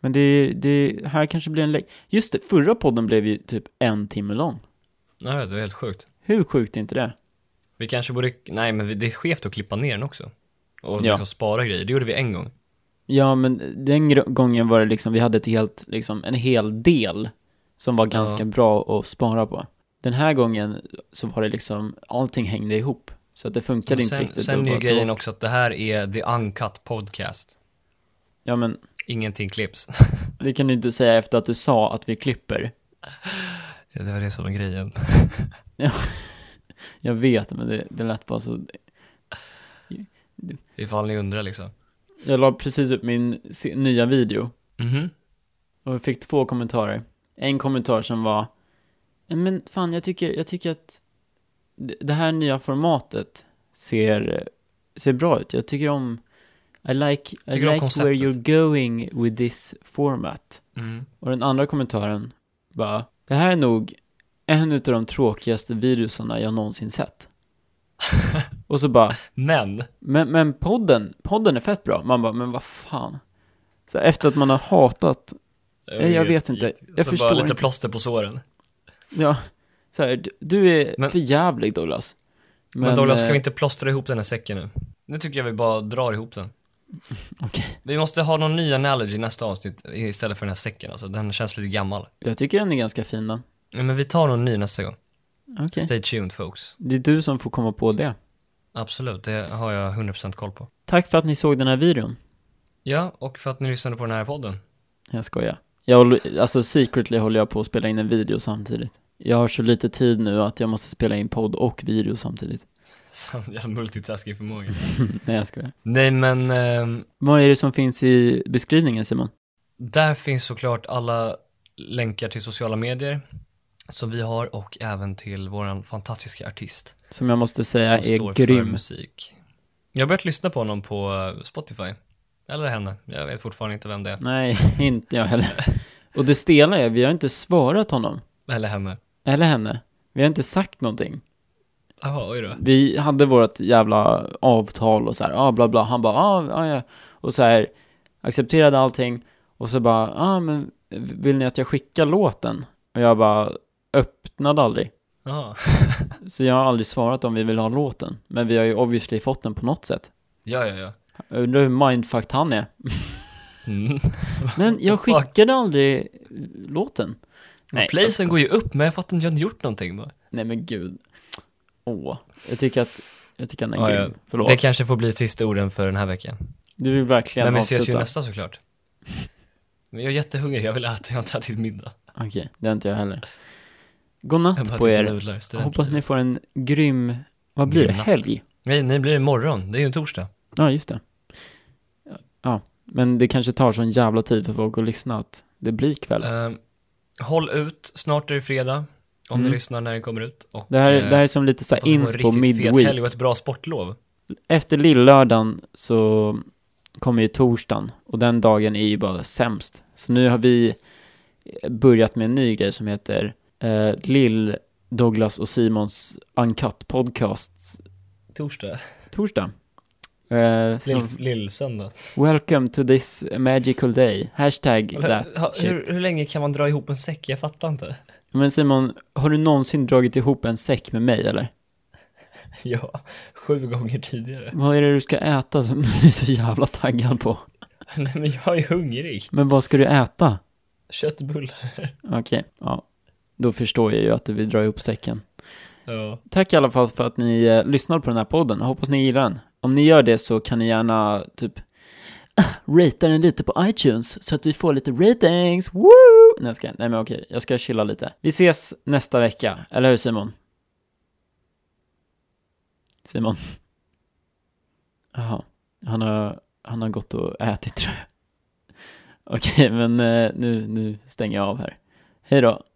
Men det, det här kanske blir en lägg... Just det, förra podden blev ju typ en timme lång.
Nej, det är helt sjukt.
Hur sjukt är inte det?
Vi kanske borde, nej men vi- det är skevt att klippa ner den också. Och
Ja.
liksom spara grejer. Det gjorde vi en gång.
Ja, men den gr- gången var det liksom, vi hade ett helt, liksom, en hel del som var ganska bra att spara på. Den här gången så var det liksom, allting hängde ihop. Så att det funkade
Men
inte
sen
riktigt. att
sen är ju
bara ta
grejen
bort-
också att det här är the uncut podcast.
Ja, men
Ingenting klipps.
det kan du inte säga efter att du sa att vi klipper.
Ja, det var det som var grejen.
Jag vet, men det, det lät bara så.
Ifall ni undrar liksom.
Jag la precis upp min se- nya video Mm-hmm.
Mhm.
och jag fick två kommentarer. En kommentar som var, "Ja, men fan jag tycker, jag tycker att d- det här nya formatet ser, ser bra ut. Jag tycker om, I like, I
Tycker om
like where
konceptet."
you're going with this format.
Mm.
Och den andra kommentaren bara, det här är nog en av de tråkigaste videosarna jag någonsin sett. och så bara,
Men,
men, men podden, podden är fett bra. Man bara, men vad fan. Så efter att man har hatat, Nej, jag vet inte. Jag
så
förstår
bara lite
inte.
plåster på såren.
ja, så här, du- du är
Men-
för jävlig Douglas.
Men, Douglas, ska
eh,
vi inte plåstra ihop den här säcken nu? Nu tycker jag vi bara drar ihop den.
Okej.
Vi måste ha någon ny analogy i nästa avsnitt istället för den här säcken alltså. Den känns lite gammal.
Jag tycker den är ganska fin den.
Ja, men vi tar någon ny nästa gång.
Okej.
Stay tuned folks.
Det är du som får komma på det.
Absolut, det har jag 100% koll på.
Tack för att ni såg den här videon.
Ja, och för att ni lyssnade på den här podden.
Jag skojar. Jag håller, alltså secretly håller jag på att spela in en video samtidigt. Jag har så lite tid nu att jag måste spela in podd och video samtidigt.
Samma jävla multitasking-förmåga.
Nej, jag skojar.
Nej men, ehm,
Vad är det som finns i beskrivningen Simon?
där finns såklart alla länkar till sociala medier som vi har och även till våran fantastiska artist
Som jag måste säga
som
är
står för
grym.
musik. Jag har börjat lyssna på honom på eh, Spotify. Eller henne, jag vet fortfarande inte vem det är.
Nej, inte jag heller. Och det stela är, vi har inte svarat honom.
Eller henne.
Eller henne. Vi har inte sagt någonting.
Jaha, oj då.
Vi hade vårt jävla avtal och så här, ah, bla bla. Han bara, ah, ah, ja. Och så här, accepterade allting. Och så bara, ah, men vill ni att jag skickar låten? Och jag bara, öppnade aldrig.
Jaha.
Så jag har aldrig svarat om vi vill ha låten. Men vi har ju obviously fått den på något sätt.
Ja, ja, ja.
Jag Undrar hur mindfucked han är.
Mm.
Men jag
What the fuck?
skickade aldrig låten. Nej,
Playsen går ju upp, men jag fattar inte, jag har inte gjort någonting bara.
Nej men gud. Åh. Jag tycker att, jag tycker att han är
Ja, ja.
grym. Förlåt.
Det kanske får bli sista orden för den här veckan.
Du vill verkligen
Men vi
avsluta.
ses ju nästa såklart. Men jag är jättehungrig, jag vill äta, jag har inte ätit middag.
Okej, det har inte jag heller.
Jag har
Godnatt
bara
på
ätit
er.
nudlar,
Jag
student-
hoppas ni får en grym, vad blir det,
Grym natt.
helg?
Nej, ni blir det imorgon, det är ju en torsdag.
Ja, just det. Ja, men det kanske tar sån jävla tid för folk att lyssna att det blir kväll.
Ehm, håll ut, snart är det fredag. Om
Mm.
ni lyssnar när det kommer ut. Och,
Det här,
eh,
det här är som lite så
hoppas
här
ni får en
inspo
riktigt fet helg
midweek.
och ett bra sportlov.
Efter lillördagen så kommer ju torsdagen och den dagen är ju bara sämst. Så nu har vi eh, börjat med en ny grej som heter eh, Lill, Douglas och Simons Uncut Podcast
Torsdag?
torsdag. Eh, så
Lill- Lill-söndag.
welcome to this magical day. Hashtag that
Ha-
shit.
Hur, hur länge kan man dra ihop en säck? Jag fattar inte.
Men Simon, har du någonsin dragit ihop en säck med mig eller?
Ja, sju gånger tidigare.
Vad är det du ska äta som du är så jävla taggad på?
Nej men jag är hungrig.
Men vad ska du äta?
Köttbullar.
Okej, ja. Då förstår jag ju att du vill dra ihop säcken.
Ja.
Tack i alla fall för att ni eh, lyssnar på den här podden. Hoppas ni gillar den. Om ni gör det så kan ni gärna typ ah, ratea den lite på iTunes så att vi får lite ratings. Woo! Nej, jag ska, nej men okej, jag ska chilla lite. Vi ses nästa vecka, eller hur Simon? Simon. Jaha, han har, han har gått och ätit tror jag. Okej, men eh, nu, nu stänger jag av här. Hej då.